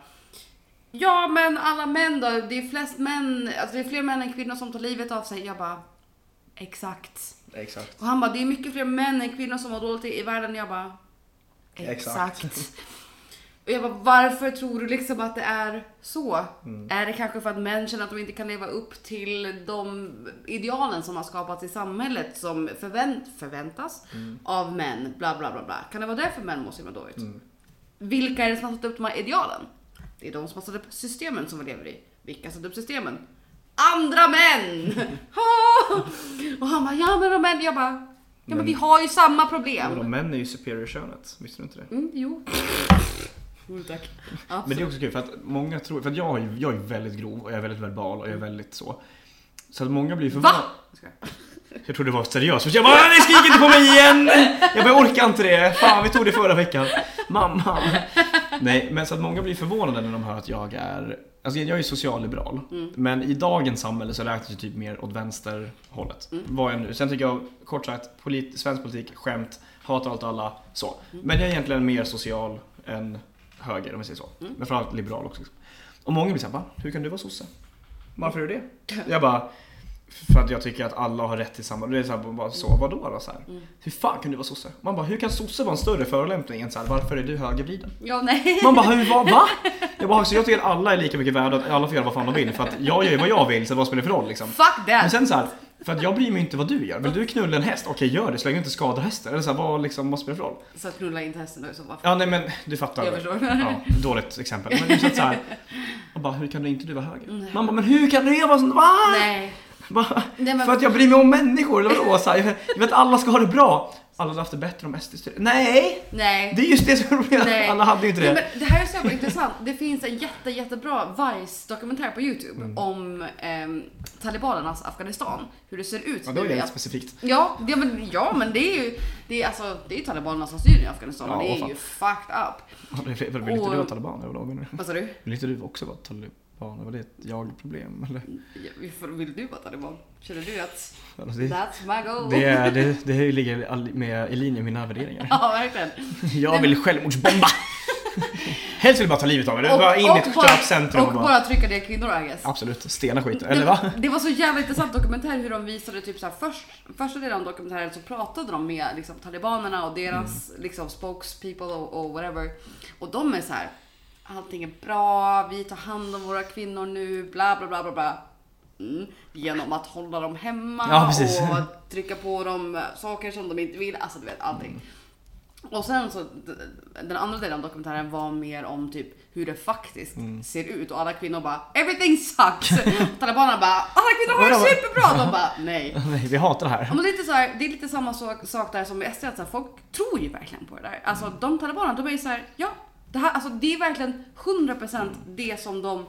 S2: Ja men alla män då, det är flest män, alltså det är fler män än kvinnor som tar livet av sig. Jag bara Exakt.
S1: Exakt.
S2: Och han bara det är mycket fler män än kvinnor som mår dåligt i i världen. Jag bara
S1: Exakt.
S2: Exakt. Och jag bara varför tror du liksom att det är så?
S1: Mm.
S2: Är det kanske för att män känner att de inte kan leva upp till de idealen som har skapats i samhället som förvänt, förväntas
S1: Mm.
S2: av män? Bla bla bla bla. Kan det vara därför män mår så himla dåligt? Vilka är det som har satt upp de här idealen? Det är de som har satt upp systemen som vi lever i. Vilka har satt upp systemen? Andra män! Ha! och han bara, ja men de män, jag bara, ja men vi har ju samma problem.
S1: Men de män är ju superior könet, visste du inte det?
S2: Mm, jo. Jo tack.
S1: Mm, Men det är också kul för att många tror, för att jag, är ju- jag är väldigt grov och jag är väldigt verbal och jag är väldigt så. Så att många blir
S2: Va?
S1: förvånade. Jag trodde det var seriöst. Jag bara ni skriker inte på mig igen! Jag bara jag orkar inte det. Fan vi tog det förra veckan. Mamma. Nej men så att många blir förvånade när de hör att jag är Alltså jag är ju socialliberal. Men i dagens samhälle så räknas jag typ mer åt vänsterhållet. Vad jag nu. Sen tycker jag kort sagt polit, svensk politik, skämt, hatar allt och alla. Så. Men jag är egentligen mer social än höger om vi säger så. Men liksom. framförallt liberal också. Och många blir såhär va? Hur kan du vara sosse? Varför är du det? Jag bara För att jag tycker att alla har rätt till samma. Det är så här, bara så, vadå då? Så här.
S2: Mm.
S1: Hur fan kan du vara sosse? Man bara, hur kan sosse vara en större förolämpning än så här, varför är du högervriden?
S2: Ja, nej.
S1: Man bara, hur, vad, va? Jag bara, så jag tycker att alla är lika mycket värda, att alla får göra vad fan de vill. För att jag gör ju vad jag vill, så vad spelar det för roll liksom?
S2: Fuck
S1: Men
S2: that!
S1: sen så här, för att jag bryr mig inte vad du gör. Vill du knulla en häst? Okej, gör det så länge du inte skadar hästen. Eller så här, vad, liksom, vad spelar det för roll?
S2: Så knulla inte hästen då i så fall.
S1: Ja, nej men du fattar.
S2: Jag förstår.
S1: Ja, dåligt exempel. Men det är så här, jag bara, hur kan du inte du vara höger?
S2: Nej.
S1: Man bara, men hur kan du vara sån? Va?
S2: Mm. Nej.
S1: Va?
S2: Nej, men-
S1: För att jag bryr mig om människor, eller vadå? Så här, jag jag vet att alla ska ha det bra. Alla hade haft det bättre om SD styrde. Nej!
S2: Nej.
S1: Det är just det som är problemet.
S2: Nej.
S1: Alla hade ju inte
S2: Nej,
S1: det.
S2: men det här är så jävla intressant. Det finns en jätte, jättebra Vice-dokumentär på Youtube
S1: Mm.
S2: om ehm, talibanernas Afghanistan. Hur det ser ut.
S1: Ja, det var
S2: nu i
S1: ju
S2: Af-
S1: specifikt.
S2: ja, det, men, ja, men det är ju det är, alltså, det är ju talibanerna som styr i Afghanistan och
S1: Ja,
S2: det
S1: åh,
S2: är
S1: fan.
S2: ju fucked up.
S1: Ja, det är- Vill inte
S2: Och-
S1: du vara taliban överlag?
S2: Vad sa du?
S1: Vill inte du också vara taliban? Var det ett jag-problem? Eller?
S2: Ja, Vill du vara taliban? Känner du att
S1: Alltså, det,
S2: that's my goal?
S1: det, är- det, det här ligger i all- med, i linje med mina värderingar.
S2: Ja, verkligen.
S1: Jag vill självmordsbomba! Helst vill jag bara ta livet av det. Bara in i ett
S2: bara-
S1: köpcentrum
S2: och
S1: och
S2: bara trycka ner kvinnor, I guess.
S1: Absolut, stena skiten.
S2: Det-
S1: Eller va?
S2: Det var så jävla intressant dokumentär hur de visade typ så här först, första delen av dokumentären så pratade de med liksom, talibanerna och deras
S1: Mm.
S2: liksom spokespeople och, och whatever. Och de är så här, allting är bra, vi tar hand om våra kvinnor nu, bla bla bla bla bla. Mm. Genom att hålla dem hemma
S1: Ja, precis.
S2: och trycka på dem saker som de inte vill, alltså du vet allting. Och sen så, d- den andra delen av dokumentären var mer om typ hur det faktiskt ser ut och alla kvinnor bara “Everything sucks” och talibanerna bara “Alla kvinnor har det
S1: Vadå?
S2: superbra” de bara “Nej”.
S1: Nej, vi hatar det här.
S2: Ja, Men det, är lite så här, det är lite samma sak, sak där som i SD, att så här, folk tror ju verkligen på det där. Alltså
S1: Mm.
S2: de talibanerna, de är ju så här, ja, det, här, alltså, det är verkligen 100% det som de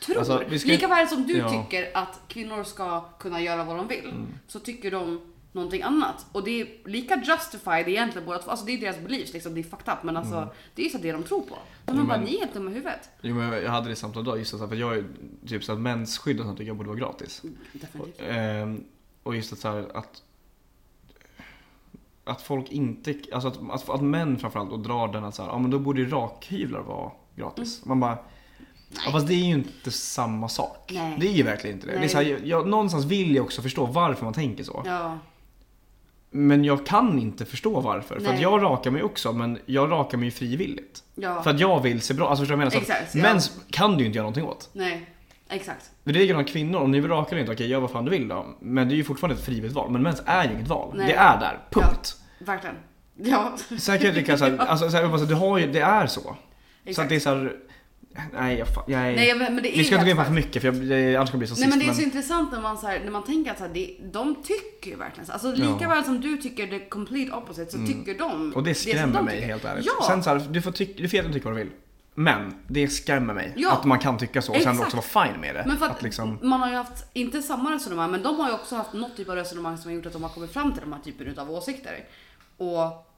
S2: tror.
S1: Mm. Alltså, vi ska-
S2: Lika väl som du
S1: Ja. Mm.
S2: tycker att kvinnor ska kunna göra vad de vill, så tycker de någonting annat. Och det är lika justified egentligen båda två. Alltså det är deras beliefs, liksom, det är fucked up, men alltså det är ju så det de tror på. Men man bara,
S1: Mm. Men-
S2: ni är helt dumma i huvudet.
S1: Jo, men jag hade det samtalet idag, just att, för jag är typ så att mensskydd och sånt tycker jag borde vara gratis.
S2: Definitivt.
S1: Ehm, och just att så här, att att folk inte, alltså att, att, att män framförallt och drar den att så här, ja men då borde ju rakhyvlar vara gratis.
S2: Mm.
S1: Man bara, ja, fast det är ju inte samma sak.
S2: Nej.
S1: Det är ju verkligen inte det. det är
S2: Nej.
S1: så här, jag, jag, någonstans vill jag också förstå varför man tänker så.
S2: Ja,
S1: Men jag kan inte förstå varför. För att
S2: Nej.
S1: jag rakar mig också, men jag rakar mig ju frivilligt.
S2: ja,
S1: För att jag vill se bra, alltså förstår du vad jag menar? Så att
S2: Exakt, ja.
S1: Mens kan du ju inte göra någonting åt.
S2: nej, exakt.
S1: Men det är likadant kvinnor, om ni vill raka eller inte, okej gör vad fan du vill då. Men det är ju fortfarande ett frivilligt val. Men mens är ju inget val.
S2: Nej.
S1: Det är där, punkt.
S2: Verkligen. Ja,
S1: Sen kan jag tycka såhär, alltså, så här, jag bara, så här, du har ju, det är så. Så att
S2: exakt.
S1: det är såhär, nej jag, fa- jag
S2: Nej, men men det är
S1: Vi ska inte gå in på
S2: helt
S1: för mycket för jag, det, annars kommer jag bli så
S2: Nej
S1: sist.
S2: men det är så intressant när man, så här, när man tänker att så här, det, de tycker ju verkligen så. Alltså lika
S1: Ja. Mm.
S2: väl som du tycker the complete opposite så tycker de
S1: och det
S2: som
S1: skrämmer
S2: de
S1: mig
S2: tycker.
S1: helt ärligt.
S2: Ja,
S1: Sen så här, du får, tyck, du får gärna tycka vad du vill. Men det skrämmer mig
S2: Ja.
S1: att man kan tycka så och sen
S2: Exakt.
S1: också vara fine med det.
S2: men för att,
S1: liksom,
S2: man har ju haft, inte samma resonemang, men de har ju också haft något typ av resonemang som har gjort att de har kommit fram till de här typen av åsikter. Och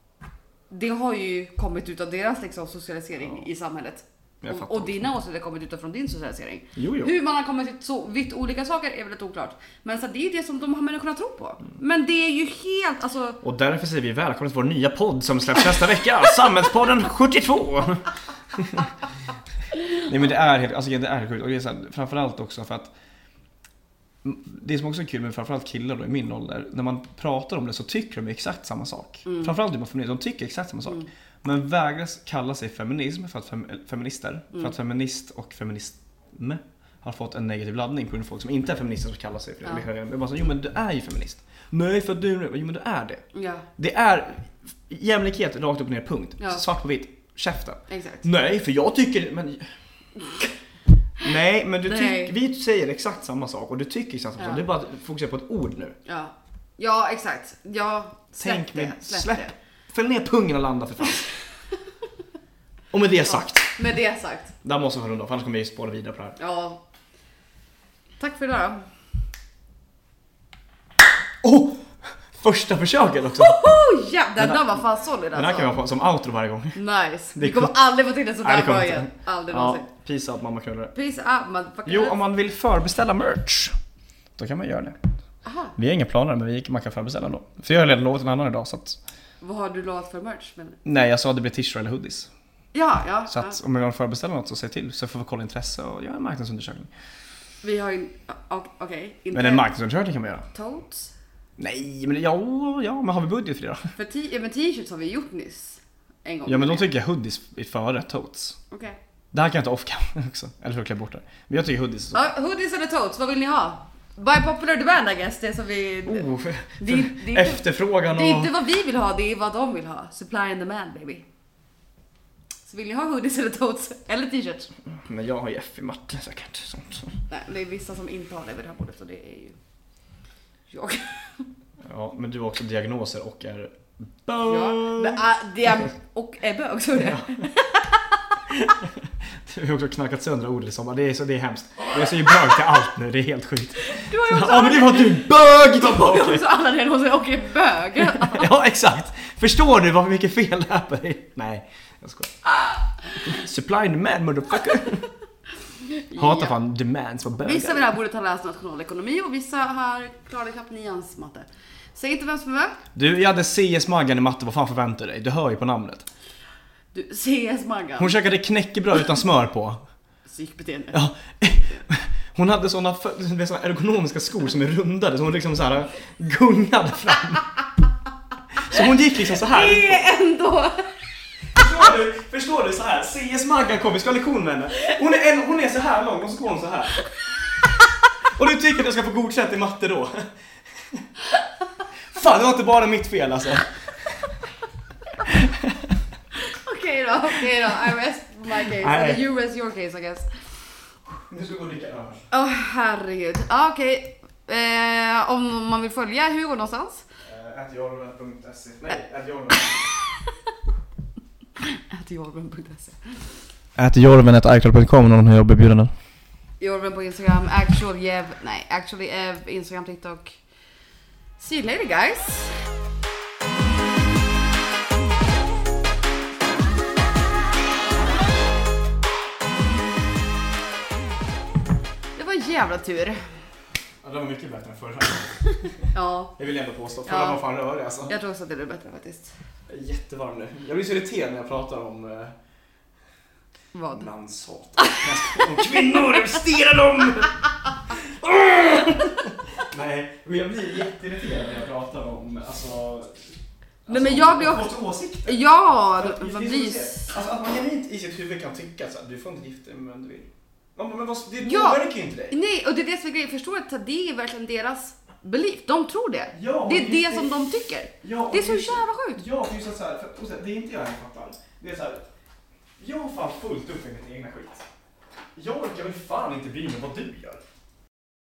S2: det har ju kommit ut av deras liksom, socialisering i samhället.
S1: Jag
S2: Och,
S1: fattar.
S2: och dina åsikter har kommit utifrån din socialisering.
S1: jo, jo.
S2: Hur man har kommit till så vitt olika saker är väldigt oklart. Men så här, det är ju det som de här människorna tror på.
S1: Mm.
S2: Men det är ju helt, alltså
S1: Och därför säger vi välkomna till vår nya podd som släpps nästa vecka, Samhällspodden 72! Nej men det är helt, alltså, det är helt sjukt. Och det är så här, framförallt också för att det som också är kul med framförallt killar då i min ålder, när man pratar om det så tycker de ju exakt samma sak. Framförallt typ av feminism, de tycker exakt samma sak. Men vägrar kalla sig feminism för att fem, feminister, för att feminist och feminism har fått en negativ laddning på grund av folk som inte är feminister som kallar sig för det.
S2: Ja.
S1: Jag bara så, jo men du är ju feminist. Nej för att du, jo men du är det.
S2: Ja,
S1: Det är jämlikhet rakt upp och ner, punkt.
S2: Ja.
S1: Svart på vitt, käften.
S2: exakt.
S1: Nej, för jag tycker... Men... Nej, men du
S2: Nej.
S1: tyck, vi säger exakt samma sak och du tycker exakt samma sak.
S2: Ja.
S1: Det är bara att fokusera på ett ord nu.
S2: Ja, ja exakt. Ja, släpp
S1: Tänk
S2: det.
S1: med-
S2: Släpp,
S1: släpp.
S2: det.
S1: Fäll ner pungen och landa för fan. och med det sagt,
S2: Med det sagt.
S1: där måste vi få runda av, för annars kommer vi spåra vidare på det här.
S2: Ja. Tack för idag då.
S1: Åh! Oh! Första försöket också!
S2: Oh, ja, den
S1: Den
S2: där var fan solid
S1: Den här
S2: alltså.
S1: kan vi ha på- som outro varje gång.
S2: Nice. Vi
S1: Det
S2: kommer aldrig få till en sån
S1: Nej, det
S2: där
S1: kommer
S2: början.
S1: inte.
S2: Aldrig
S1: Ja,
S2: någonsin.
S1: peace out mamma knullare.
S2: Peace out motherfucker.
S1: Jo, om man vill förbeställa merch, då kan man göra det.
S2: Aha,
S1: Vi har inga planer men vi, man kan förbeställa ändå. För jag har redan lovat en annan idag så att...
S2: vad har du lovat för merch? Men...
S1: Nej alltså jag sa att det blir t-shirt eller hoodies.
S2: Ja, ja.
S1: Så att om man vill förbeställa något så säg till så får vi kolla intresse och göra en marknadsundersökning.
S2: ja. Vi har ju... Okej. Okay, inte
S1: Men en marknadsundersökning kan man göra.
S2: Totes.
S1: Nej, men ja, ja, men har vi budget för det då?
S2: För t- ja, men t-shirts har vi gjort nyss. En gång.
S1: Ja, men då tycker jag hoodies är före totes.
S2: Okej.
S1: Det här kan jag ta off cam också, eller för att klä bort det. Men jag tycker hoodies är så.
S2: Ja, hoodies eller totes, vad vill ni ha? By popular demand I guess, det är som vi...
S1: Oh, för,
S2: det är inte-
S1: efterfrågan
S2: Det är
S1: och...
S2: inte vad vi vill ha, det är vad de vill ha. Supply and demand baby. Så vill ni ha hoodies eller totes eller t-shirts?
S1: Men jag har ju F i matte säkert. Sånt.
S2: Nej, det är vissa som inte har det vid det här bordet och det är ju jag.
S1: Ja, men du har också diagnoser och är...
S2: Ja, men, ah, det är, och är bög, så är det.
S1: Du har också knackat sönder ordet i sommar. Det är, så, det är hemskt. Jag säger bög till allt nu, det är helt sjukt.
S2: Du har ju också
S1: Ja, men
S2: alla,
S1: det var du bög!
S2: du har också alla diagnoser och är bög.
S1: Ja, exakt. Förstår du vad mycket fel det är på dig? Nej, jag skojar. Supply and demand motherfucker. Hatar
S2: Ja.
S1: fan demands vad
S2: Vissa vid
S1: bögar.
S2: det här bordet har läst nationalekonomi och vissa här klarade knappt nians matte. Säg inte vem som är vem.
S1: Du, jag hade CS-Maggan i matte, vad fan förväntar du dig? Du hör ju på namnet.
S2: Du, CS-Maggan.
S1: Hon käkade knäckebröd utan smör på.
S2: Psykbeteende.
S1: Ja. Hon hade såna, fö- du vet, såna ergonomiska skor som är rundade så hon liksom så här gungade fram. Så hon gick liksom så här.
S2: Det är ändå...
S1: Förstår du? Förstår du? Så här. CS Maggan kom, vi ska ha lektion med henne. Hon är, en, hon är så här lång och så går hon så här. Och du tycker att jag ska få godkänt i matte då? Fan, det var inte bara mitt fel alltså.
S2: Okej då, okej då. I rest my case.
S1: Nej.
S2: Eller you rest your case I guess.
S1: Nu ska vi gå och dricka öl.
S2: Åh herregud. Ja okej. Eh, om man vill följa Hugo någonstans?
S1: Eh, Ätjorven.se. E. Nej,
S2: Jorven.se.
S1: ätjorven. Ätjorven.icloud.com om någon har jobberbjudanden.
S2: Jorven på Instagram, actual Jev, nej actually Ev, Instagram, TikTok. See you later guys. Det var en jävla tur.
S1: Ja, det var mycket bättre än förra.
S2: Ja,
S1: Det vill jag ändå påstå.
S2: Förra Ja. var
S1: fan rörig alltså.
S2: jag tror också att det blev bättre faktiskt.
S1: Jag är jättevarm nu. Jag blir så irriterad när jag pratar om eh,
S2: Vad?
S1: manshat. Om kvinnor, stirra dem! Nej, men jag blir jätteirriterad när jag pratar om alltså...
S2: Nej, men jag blir
S1: också... åsikter.
S2: Ja,
S1: Att- det är
S2: man
S1: så
S2: blir...
S1: irriterad. Alltså att man genuint i sitt huvud kan tycka att du får inte gifta dig med vem du vill. Man bara, men vad, det
S2: Ja.
S1: påverkar ju inte dig.
S2: Nej, och det är det som är grejen. Förstår du att det är verkligen deras belief. De tror det.
S1: Ja,
S2: Det
S1: just
S2: är det som de tycker.
S1: Ja,
S2: Det är så
S1: just
S2: jävla sjukt.
S1: Ja, för just att så här, för, och så här, det är inte jag som fattar. Det är så här, jag har fan fullt upp med min egna skit. Jag orkar väl fan inte bry mig vad du gör.